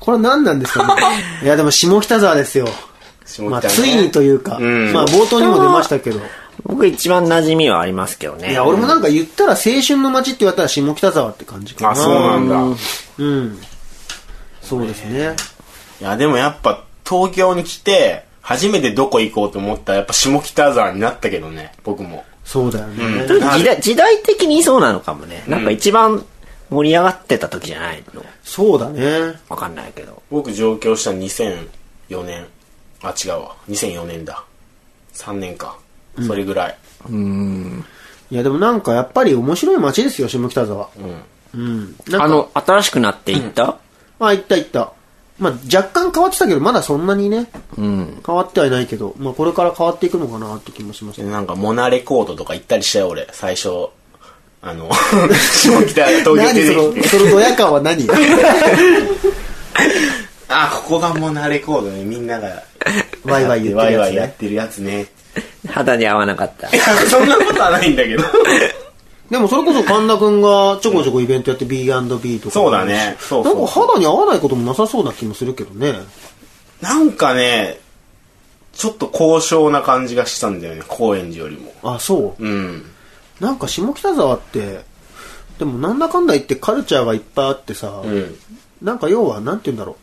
Speaker 1: これは何なんですかね。いや、でも下北沢ですよ。
Speaker 3: 下北
Speaker 1: まあ、
Speaker 3: ね
Speaker 1: ついにというか、
Speaker 3: ん
Speaker 1: まあ、冒頭にも出ましたけど。
Speaker 2: 僕一番馴染みはありますけどね。
Speaker 1: いや、俺もなんか言ったら青春の街って言われたら下北沢って感じかな。
Speaker 3: あ、そうなんだ。
Speaker 1: うん。そうですね。
Speaker 3: いや、でもやっぱ、東京に来て、初めてどこ行こうと思ったら、やっぱ下北沢になったけどね、僕も。
Speaker 1: そうだよね。
Speaker 2: とりあえず時代時代的にそうなのかもね。なんか一番盛り上がってた時じゃないの
Speaker 1: そうだね。
Speaker 2: わかんないけど。
Speaker 3: 僕上京した2004年。あ、違うわ。2004年だ。3年か。それぐらい。
Speaker 1: いや、でもなんかやっぱり面白い街ですよ、下北沢。うん。うん。なんか
Speaker 2: あ、の、新しくなっていった、
Speaker 1: まあ、行った行った。まあ、若干変わってたけど、まだそんなにね、変わってはいないけど、まあ、これから変わっていくのかなって気もします
Speaker 3: でなんか、モナレコードとか行ったりしたよ、俺。最初。あの、 下北、東京出
Speaker 1: 何そ
Speaker 3: て
Speaker 1: の
Speaker 3: きて。、
Speaker 1: そのドヤ感は何
Speaker 3: あ、ここがモナレコードね。みんなが、
Speaker 1: ワイワイ言ってるや
Speaker 3: ワイワ
Speaker 1: つ
Speaker 3: イやっ
Speaker 1: ね。
Speaker 3: てるやつね。
Speaker 2: 肌に合わなかった。
Speaker 3: そんなことはないん だけど。
Speaker 1: でもそれこそ神田くんがちょこちょこイベントやって B&B とか。
Speaker 3: そうだねそうそう
Speaker 1: な
Speaker 3: そう
Speaker 1: んか肌に合わないこともなさそうな気もするけどね。
Speaker 3: なんかね、ちょっと高尚な感じがしたんだよね、高円寺よりも。
Speaker 1: あ、そう。
Speaker 3: うん。
Speaker 1: なんか下北沢って、でもなんだかんだ言ってカルチャーがいっぱいあってさ、
Speaker 3: うん。
Speaker 1: なんか要は、なんて言うんだろう。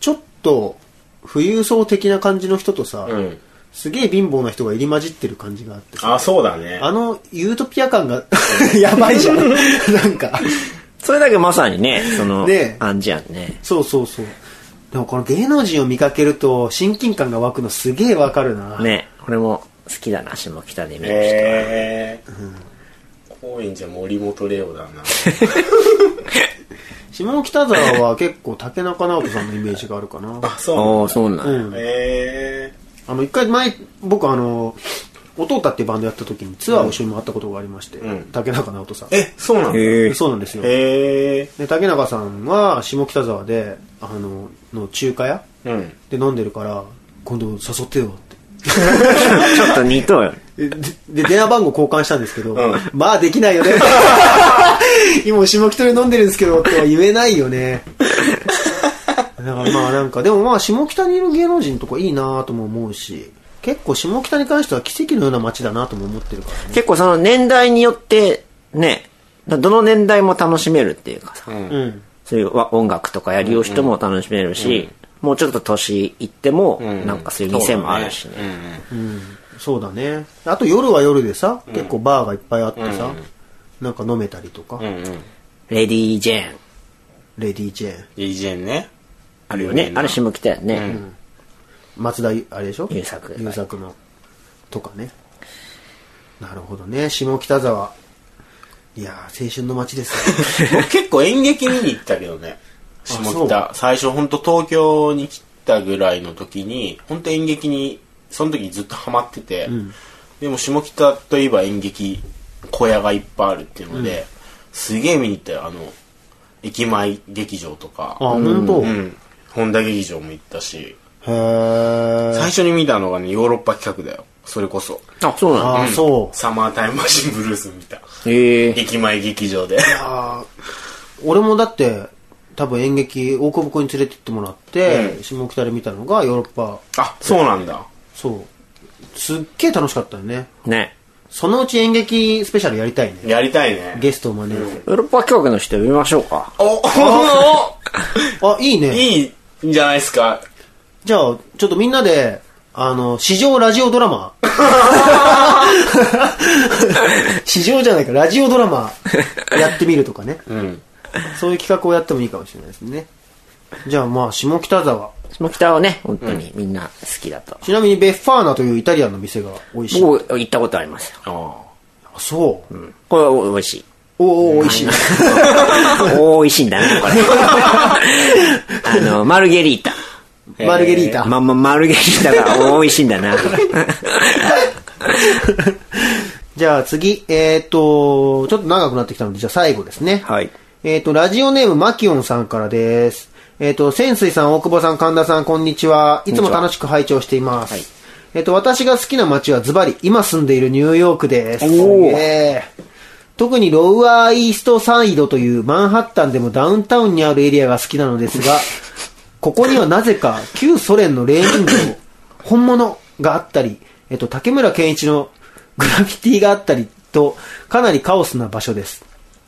Speaker 1: ちょっと、富裕層的な感じの人とさ、
Speaker 3: うん。
Speaker 1: すげえ貧乏な人が入り混じってる感じがあってさ、
Speaker 3: あ、そうだね。
Speaker 1: あの、ユートピア感が、 やばい じゃん。なんか、
Speaker 2: それだけまさにね、その、
Speaker 1: ね
Speaker 2: 感じやんね。
Speaker 1: そうそうそう。でもこの芸能人を見かけると親近感が湧くのすげえわかるな。
Speaker 2: ね、これも好きだな、下北で見る人は。
Speaker 3: えー。高円寺は森本レオだ な。
Speaker 1: 下北沢は結構竹中直人さんのイメージがあるかな。
Speaker 3: あ、そう
Speaker 2: ああ、そうなんや、
Speaker 1: うん。
Speaker 3: え
Speaker 1: あの、一回前、僕あの、弟たっていうバンドやった時にツアーを一緒に回ったことがありまして、
Speaker 3: うん
Speaker 1: 竹中直人さん
Speaker 3: ー。。え、そうなんだ。
Speaker 2: へえ
Speaker 1: そうなんですよ。
Speaker 3: へえ
Speaker 1: で、竹中さんは下北沢で、あの、の中華屋
Speaker 3: ー。うん。
Speaker 1: で飲んでるから、今度誘ってよって。
Speaker 2: ちょっと似とうよ。
Speaker 1: で、で電話番号交換したんですけど、
Speaker 3: ん
Speaker 1: まあできないよね。今、下北で飲んでるんですけど、とは言えないよね。だからまあなんか、でもまあ下北にいる芸能人とかいいなとも思うし、結構下北に関しては奇跡のような街だなとも思ってるからね。
Speaker 2: 結構その年代によって、ね、だどの年代も楽しめるっていうかさ、
Speaker 1: うん。
Speaker 2: そういうわ音楽とかやりを人も楽しめるし、もうちょっと年いっても、なんかそういう店もあるしね。
Speaker 1: そうだね。あと夜は夜でさ、結構バーがいっぱいあってさ、なんか飲めたりとか、
Speaker 3: うんうん。
Speaker 2: レディー・ジェーン。
Speaker 1: レディー・ジェーン、
Speaker 3: DJ ね。
Speaker 2: あるよね。ある下北やね。
Speaker 1: 松田ゆ、あれでしょ
Speaker 2: 優作
Speaker 1: 優作の、とかね。なるほどね。下北沢。いやー、青春の街 ですね。
Speaker 3: 僕結構演劇見に行ったけどね下
Speaker 1: そう
Speaker 3: 北最初本当東京に来たぐらいの時に本当演劇にその時ずっとハマってて、でも下北といえば演劇小屋がいっぱいあるっていうので、すげえ見に行ったよあの駅前劇場とか
Speaker 1: あ、本当。
Speaker 3: う
Speaker 1: へ
Speaker 3: ん本田劇場も行ったし
Speaker 1: ー。
Speaker 3: 最初に見たのがねヨーロッパ企画だよそれこそ
Speaker 2: あ、そうなんだ。
Speaker 1: あー、そう。
Speaker 3: サマータイムマシンブルース見た
Speaker 2: へえ。
Speaker 3: 駅前劇場で
Speaker 1: あー俺もだって、多分演劇、大久保君に連れてってもらって、
Speaker 3: うん
Speaker 1: 下北で見たのがヨーロッパ、
Speaker 3: あそうなんだ
Speaker 1: そう。すっげえ楽しかったよね。
Speaker 2: ね。
Speaker 1: そのうち演劇スペシャルやりたいね。
Speaker 3: やりたいね
Speaker 1: ゲストを招いて。
Speaker 2: ヨーロッパ教育の人呼びましょうか。
Speaker 3: お
Speaker 1: あ、いいね。
Speaker 3: いいんじゃないですか。
Speaker 1: じゃあ、ちょっとみんなで、あの、史上ラジオドラマ。史上じゃないか、ラジオドラマやってみるとかね。
Speaker 3: うん。
Speaker 1: そういう企画をやってもいいかもしれないですね。じゃあまあ、下北沢。
Speaker 2: 下北はね、本当にみんな好きだと。
Speaker 1: ちなみにベッファーナというイタリアンの店が美味しい。
Speaker 2: 僕、行ったことあります
Speaker 1: あ
Speaker 2: よ。
Speaker 1: そう。
Speaker 2: これは美味し い。
Speaker 1: おお、美味しい。
Speaker 2: おー美味しいんだね、こ れ。あの、マルゲリータ。
Speaker 1: マルゲリータ。
Speaker 2: ま、ま、マルゲリータが美味しいんだ な。
Speaker 1: じゃあ次、えっ、と、ちょっと長くなってきたので、じゃあ最後ですね。
Speaker 2: はい。
Speaker 1: えっ、と、ラジオネームマキオンさんからです。えっ、と、潜水さん、大久保さん、神田さん、こんにちは。いつも楽しく拝聴しています。えっ、と、私が好きな街はズバリ、今住んでいるニューヨークです。
Speaker 2: おー。
Speaker 1: すげえ特にロウアーイーストサイドというマンハッタンでもダウンタウンにあるエリアが好きなのです が、ここにはなぜか旧ソ連のレーニン像、本物があったり、えっと、竹村健一のグラフィティがあったりと、かなりカオスな場所です。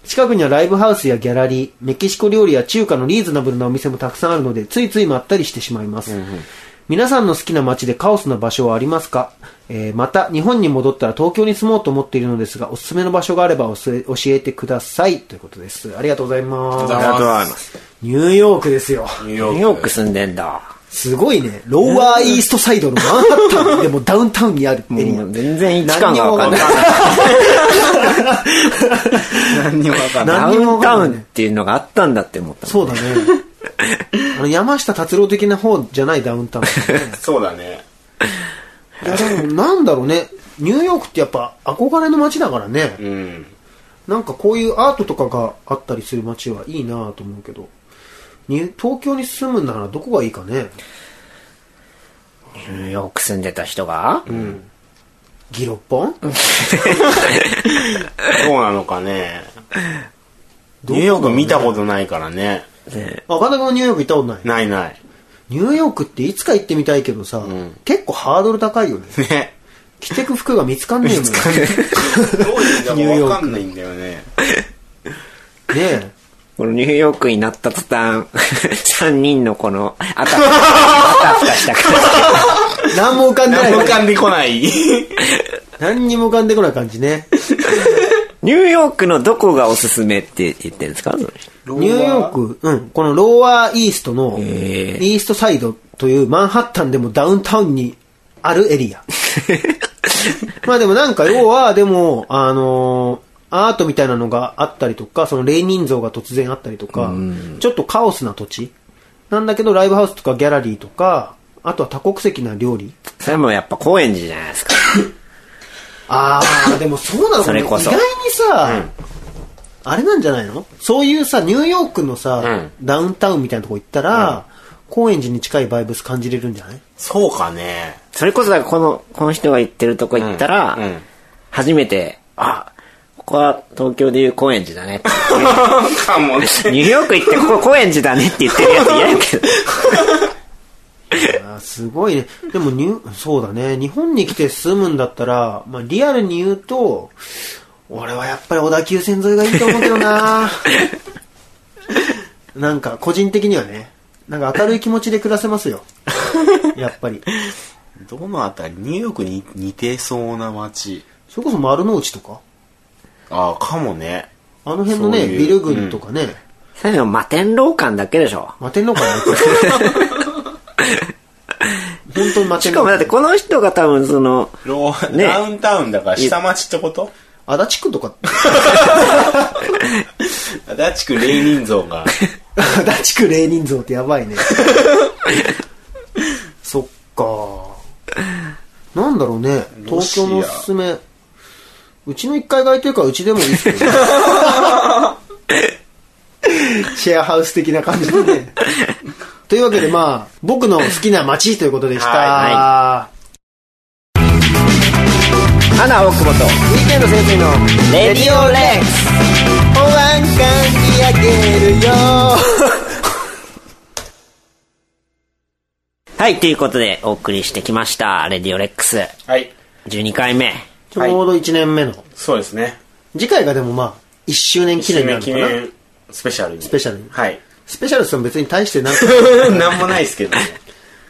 Speaker 1: 近くにはライブハウスやギャラリー、メキシコ料理や中華のリーズナブルなお店もたくさんあるので、ついついまったりしてしまいます。皆さんの好きな街でカオスな場所はありますか、えーまた、日本に戻ったら東京に住もうと思っているのですが、おすすめの場所があればおす教えてください。ということです。ありがとうございます。
Speaker 3: ありがとうございます
Speaker 1: ニューヨークですよ。
Speaker 3: ニュー
Speaker 2: ニューヨーク住んでんだ。
Speaker 1: すごいね。ローワーイーストサイドのマンハッタンでもダウンタウンにあるエリ
Speaker 2: も
Speaker 1: ア
Speaker 2: う。全然位置感がわかんない。
Speaker 3: 何にもわかんない。
Speaker 2: ダ
Speaker 1: 何にもわ
Speaker 2: ウン
Speaker 1: か
Speaker 2: タ
Speaker 1: んない
Speaker 2: ウンっていうのがあったんだって思ったもん。
Speaker 1: そうだね。 あの、山下達郎的な方じゃないダウンタウン。
Speaker 3: そうだね。
Speaker 1: いや、でもなんだろうね。ニューヨークってやっぱ憧れの街だからね。
Speaker 3: うん。
Speaker 1: なんかこういうアートとかがあったりする街はいいなと思うけど。に東京に住むならどこがいいかね。
Speaker 2: ニューヨーク住んでた人が、
Speaker 1: ギロッポン
Speaker 3: そうなのかね。ニューヨーク見たことないからね。
Speaker 1: 赤田君はニューヨーク行ったことない。
Speaker 3: ないない。
Speaker 1: ニューヨークっていつか行ってみたいけどさ、
Speaker 3: ん
Speaker 1: 結構ハードル高いよね。
Speaker 3: ね。
Speaker 1: 着てく服が見つかんねえもん。
Speaker 3: どうい
Speaker 1: ニュー
Speaker 3: う
Speaker 1: ヨー
Speaker 3: の
Speaker 1: ク
Speaker 3: かわかんないんだよね。
Speaker 1: ね
Speaker 2: このニューヨークになった途端、3人のこの、あたふた、あたふたした感
Speaker 1: え。何も浮かんでない
Speaker 3: 何も浮かんでこない。
Speaker 1: 何にも浮かんでこない感じね。
Speaker 2: じ。 ニューヨークのどこがおすすめって言ってるんですかその人
Speaker 1: ニューヨーク、うん、このローアーイーストの、イーストサイドというマンハッタンでもダウンタウンにあるエリ ア。まあでもなんか要は、でも、あのーアートみたいなのがあったりとか、その霊人像が突然あったりとか、ちょっとカオスな土地なんだけど、ライブハウスとかギャラリーとか、あとは多国籍な料理。
Speaker 2: それもやっぱ高円寺じゃないですか。
Speaker 1: ああ、でもそうなのかな
Speaker 2: それこそ
Speaker 1: 意外にさ、あれなんじゃないのそういうさ、ニューヨークのさ、ダウンタウンみたいなとこ行ったら、高円寺に近いバイブス感じれるんじゃ ない
Speaker 3: そうかね。
Speaker 2: それこそだからこの、この人が言ってるとこ行ったら、
Speaker 3: うんうん
Speaker 2: 初めて、あ、ここは東京でいう高円寺だねって。
Speaker 3: かもね。
Speaker 2: ニューヨーク行ってここ高円寺だねって言ってるやつ嫌やけど。
Speaker 1: あすごいね。でもニュ、そうだね。日本に来て住むんだったら、まあリアルに言うと、俺はやっぱり小田急線沿いがいいと思うけど ななんか、個人的にはね、なんか明るい気持ちで暮らせますよ。やっぱり。
Speaker 3: どのあたりニューヨークに似てそうな街。
Speaker 1: それこそ丸の内とか、
Speaker 3: ああ、かもね。
Speaker 1: あの辺のね、
Speaker 3: そういう
Speaker 1: ビル群とかね、
Speaker 2: それでも摩天楼館だけでしょ。
Speaker 1: 摩天楼かな 本当に摩
Speaker 2: し
Speaker 1: 天
Speaker 2: か
Speaker 1: 楼
Speaker 2: もだってこの人が多分その、
Speaker 3: ロー
Speaker 2: ね
Speaker 3: ダウンタウンだから下町ってこと
Speaker 1: 足立区とか、
Speaker 3: 足立区霊人像が。
Speaker 1: 足立区霊人像ってやばいね。 そっか。なんだろうね、
Speaker 3: ロ
Speaker 1: 東
Speaker 3: シア
Speaker 1: 京のおすすめ。うちの1階街というか、うちでもいいですけ どね。シェアハウス的な感じでね。というわけで、まあ、僕の好きな街ということでした。
Speaker 3: はい
Speaker 2: 花大久保と、
Speaker 1: ウィーケンド先生の
Speaker 2: レディオレックス
Speaker 1: 保安官にあげるよ
Speaker 2: はい、ということでお送りしてきました、レディオレックス。
Speaker 3: はい。
Speaker 2: 12回目。
Speaker 1: ちょうど1年目の。
Speaker 3: そうですね。
Speaker 1: 次回がでもまあ、1周年記念になる
Speaker 3: 記
Speaker 1: のかな
Speaker 3: 念スペシャルに。ス
Speaker 1: ペシャルに
Speaker 3: はい。
Speaker 1: スペシャルさん別に大してなんか
Speaker 3: なんもないですけどね。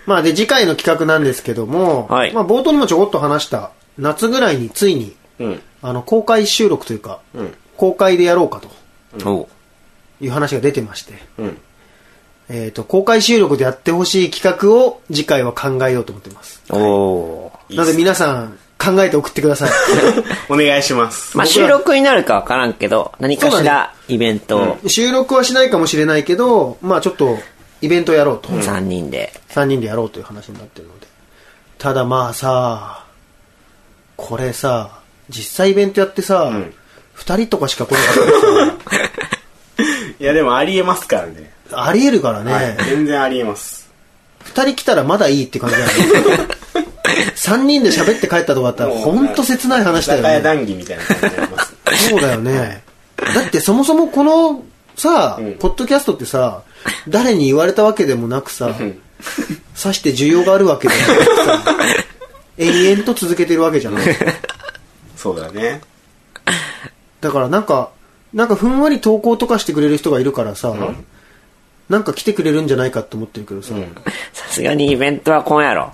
Speaker 1: まあで、次回の企画なんですけども、
Speaker 2: はい
Speaker 1: まあ冒頭にもちょこっと話した、夏ぐらいについに、
Speaker 3: うん。
Speaker 1: あの、公開収録というか、
Speaker 3: うん
Speaker 1: 公開でやろうかと
Speaker 2: おう
Speaker 1: いう話が出てまして、
Speaker 3: うん。
Speaker 1: えっ、と、公開収録でやってほしい企画を次回は考えようと思ってます。
Speaker 2: おー
Speaker 1: なので皆さん、考えて送ってください。
Speaker 3: お願いします。
Speaker 2: まあ収録になるかわからんけど、何か
Speaker 1: そ
Speaker 2: し
Speaker 1: うだ
Speaker 2: らイベントを
Speaker 1: 収録はしないかもしれないけど、まあちょっと、イベントやろうと。
Speaker 2: 3人で。
Speaker 1: 3人でやろうという話になってるのでただまあさこれさ実際イベントやってさ、
Speaker 3: ん
Speaker 1: 二2人とかしか来なかっ
Speaker 3: いや、でもありえますからね。
Speaker 1: たら ありえるからね、
Speaker 3: はい。全然ありえます。
Speaker 1: 2人来たらまだいいって感じだよ ね3人で喋って帰ったとかだったら
Speaker 3: もう
Speaker 1: ほんと切ない話だ
Speaker 3: 中屋
Speaker 1: よね
Speaker 3: 談義みたいな感じにな ります。
Speaker 1: そうだよねだってそもそもこのさ、
Speaker 3: ん
Speaker 1: ポッドキャストってさ誰に言われたわけでもなくささして需要があるわけでもなく さ延々と続けてるわけじゃない
Speaker 3: そうだね。
Speaker 1: だからなんか、なんかふんわり投稿とかしてくれる人がいるからさ、なんか来てくれるんじゃないかって思ってるけどさ、
Speaker 2: さすがにイベントは来んや ろ。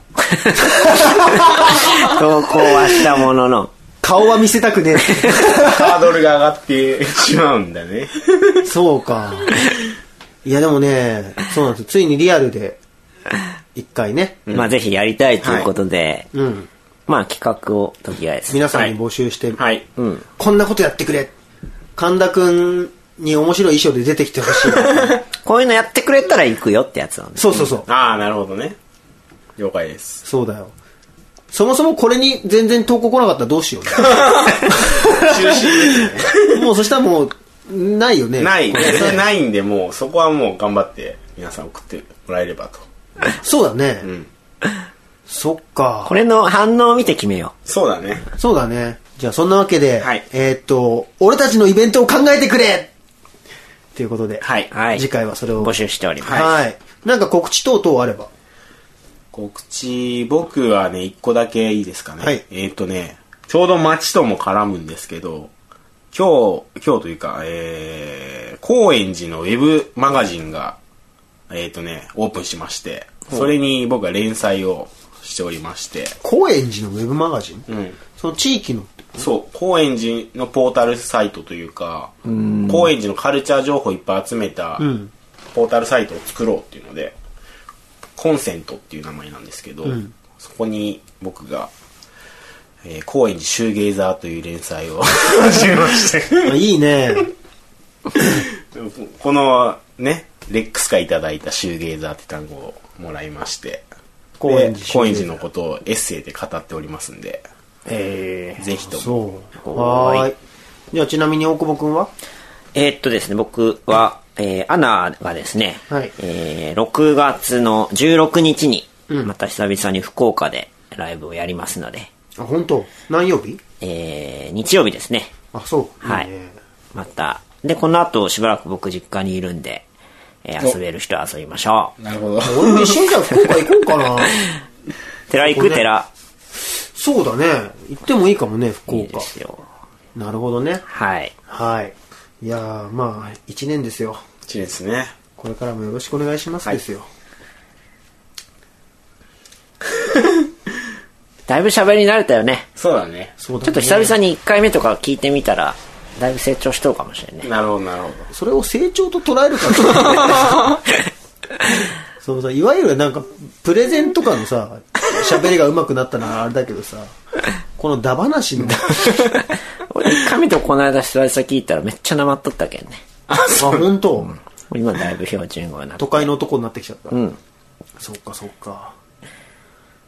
Speaker 2: 投稿はしたものの。
Speaker 1: 顔は見せたくね
Speaker 3: ハードルが上がってしまうんだ ね。
Speaker 1: え。そうか。いやでもね、そうなんですよついにリアルで、一回ね、
Speaker 2: まあぜひやりたいということで、
Speaker 1: うん、
Speaker 2: まあ企画をとりあえず。
Speaker 1: 皆さんに募集して、
Speaker 3: はい。
Speaker 2: うん。
Speaker 1: こんなことやってくれ神田くんに面白い衣装で出てきてほ しい。
Speaker 2: こういうのやってくれたら行くよってやつをね。
Speaker 1: そうそうそう。
Speaker 3: ああ、なるほどね。了解です。
Speaker 1: そうだよ。そもそもこれに全然投稿来なかったらどうしようね。
Speaker 3: 中止です
Speaker 1: もうそしたらもう、ないよね。
Speaker 3: ね。ない。それないんで、もうそこはもう頑張って皆さん送ってもらえればと。
Speaker 1: そうだね。
Speaker 3: ん
Speaker 1: そっか
Speaker 2: こ。れの反応を見て決めよ。。
Speaker 3: そうだね。
Speaker 1: そうだね。じゃあそんなわけで、
Speaker 3: はい
Speaker 1: えーっと、俺たちのイベントを考えてくれということで、
Speaker 3: はいう
Speaker 2: はい。
Speaker 1: 次回はそれを。
Speaker 2: 募集しております。
Speaker 1: はい。なんか告知等々あれば。
Speaker 3: 告知、僕はね、一個だけいいですかね。
Speaker 1: はい
Speaker 3: えーっ、とね、ちょうど街とも絡むんですけど、今日、今日というか、えー、高円寺のウェブマガジンが、えーっ、とね、オープンしまして、それに僕は連載をしておりまして、
Speaker 1: 高円寺のウェブマガジン、
Speaker 3: うん。
Speaker 1: その地域の、
Speaker 3: そう、高円寺のポータルサイトというか、高円寺のカルチャー情報をいっぱい集めた、ポータルサイトを作ろうっていうので、コンセントっていう名前なんですけど、そこに僕が、えー、高円寺シューゲイザーという連 載を始めまして、
Speaker 1: あいい ね。
Speaker 3: このね、レックスからいただいたシューゲイザーって単語をもらいまして、
Speaker 1: 高円寺
Speaker 3: で
Speaker 1: シューゲイザー
Speaker 3: 高円寺のことをエッセイで語っておりますんで、
Speaker 1: えー
Speaker 3: ぜひとも
Speaker 1: そう。はーい。じゃあちなみに大久保くんは
Speaker 2: えーっとですね、僕は、えーアナがですね、
Speaker 1: はい
Speaker 2: えー6月の16日に、また久々に福岡でライブをやりますので、
Speaker 1: あ、本当何曜日
Speaker 2: えー日曜日ですね。
Speaker 1: あ、そう。
Speaker 2: はい
Speaker 1: ね
Speaker 2: また、で、この後しばらく僕実家にいるんで、えー遊べる人は遊びましょう。
Speaker 3: なるほど。
Speaker 1: 俺も一緒にじゃあ福岡行こうか な。
Speaker 2: 寺行
Speaker 1: こ
Speaker 2: く
Speaker 1: こね
Speaker 2: 寺、
Speaker 1: そうだね。行ってもいいかもね、福
Speaker 2: いい
Speaker 1: 岡
Speaker 2: で。すよ。
Speaker 1: なるほどね。
Speaker 2: はい。
Speaker 1: はい。いやー、まあ、一年ですよ。
Speaker 3: 一年ですね。
Speaker 1: これからもよろしくお願いしますですよ。
Speaker 2: だいぶ喋りに慣れたよね。
Speaker 3: そうだね。
Speaker 1: そうだ
Speaker 2: ちょっと久々に1回目とか聞いてみたら、だいぶ成長しとるかもし れんね。
Speaker 3: なるほど、なるほど。
Speaker 1: それを成長と捉えるか そうさいわゆるなんかプレゼンとかの さ喋りが上手くなったのはあれだけどさこのダ話の
Speaker 2: 俺1回目とこの間久々聞いたらめっちゃなまっとったけんね。
Speaker 1: あ本当、
Speaker 2: 今だいぶ標準語になって
Speaker 1: 都。会の男になってきちゃった、
Speaker 2: うん。
Speaker 1: そっかそっか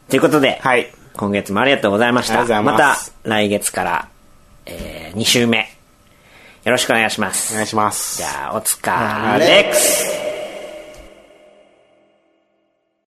Speaker 2: ということで、
Speaker 3: はい。
Speaker 2: 今月もありがとうございました。
Speaker 3: ありがとうございます
Speaker 2: た来月から、えー、2週目。よろしくお願いしま
Speaker 3: お願
Speaker 2: す。
Speaker 3: いします
Speaker 2: じ。ゃあ、お疲れっす。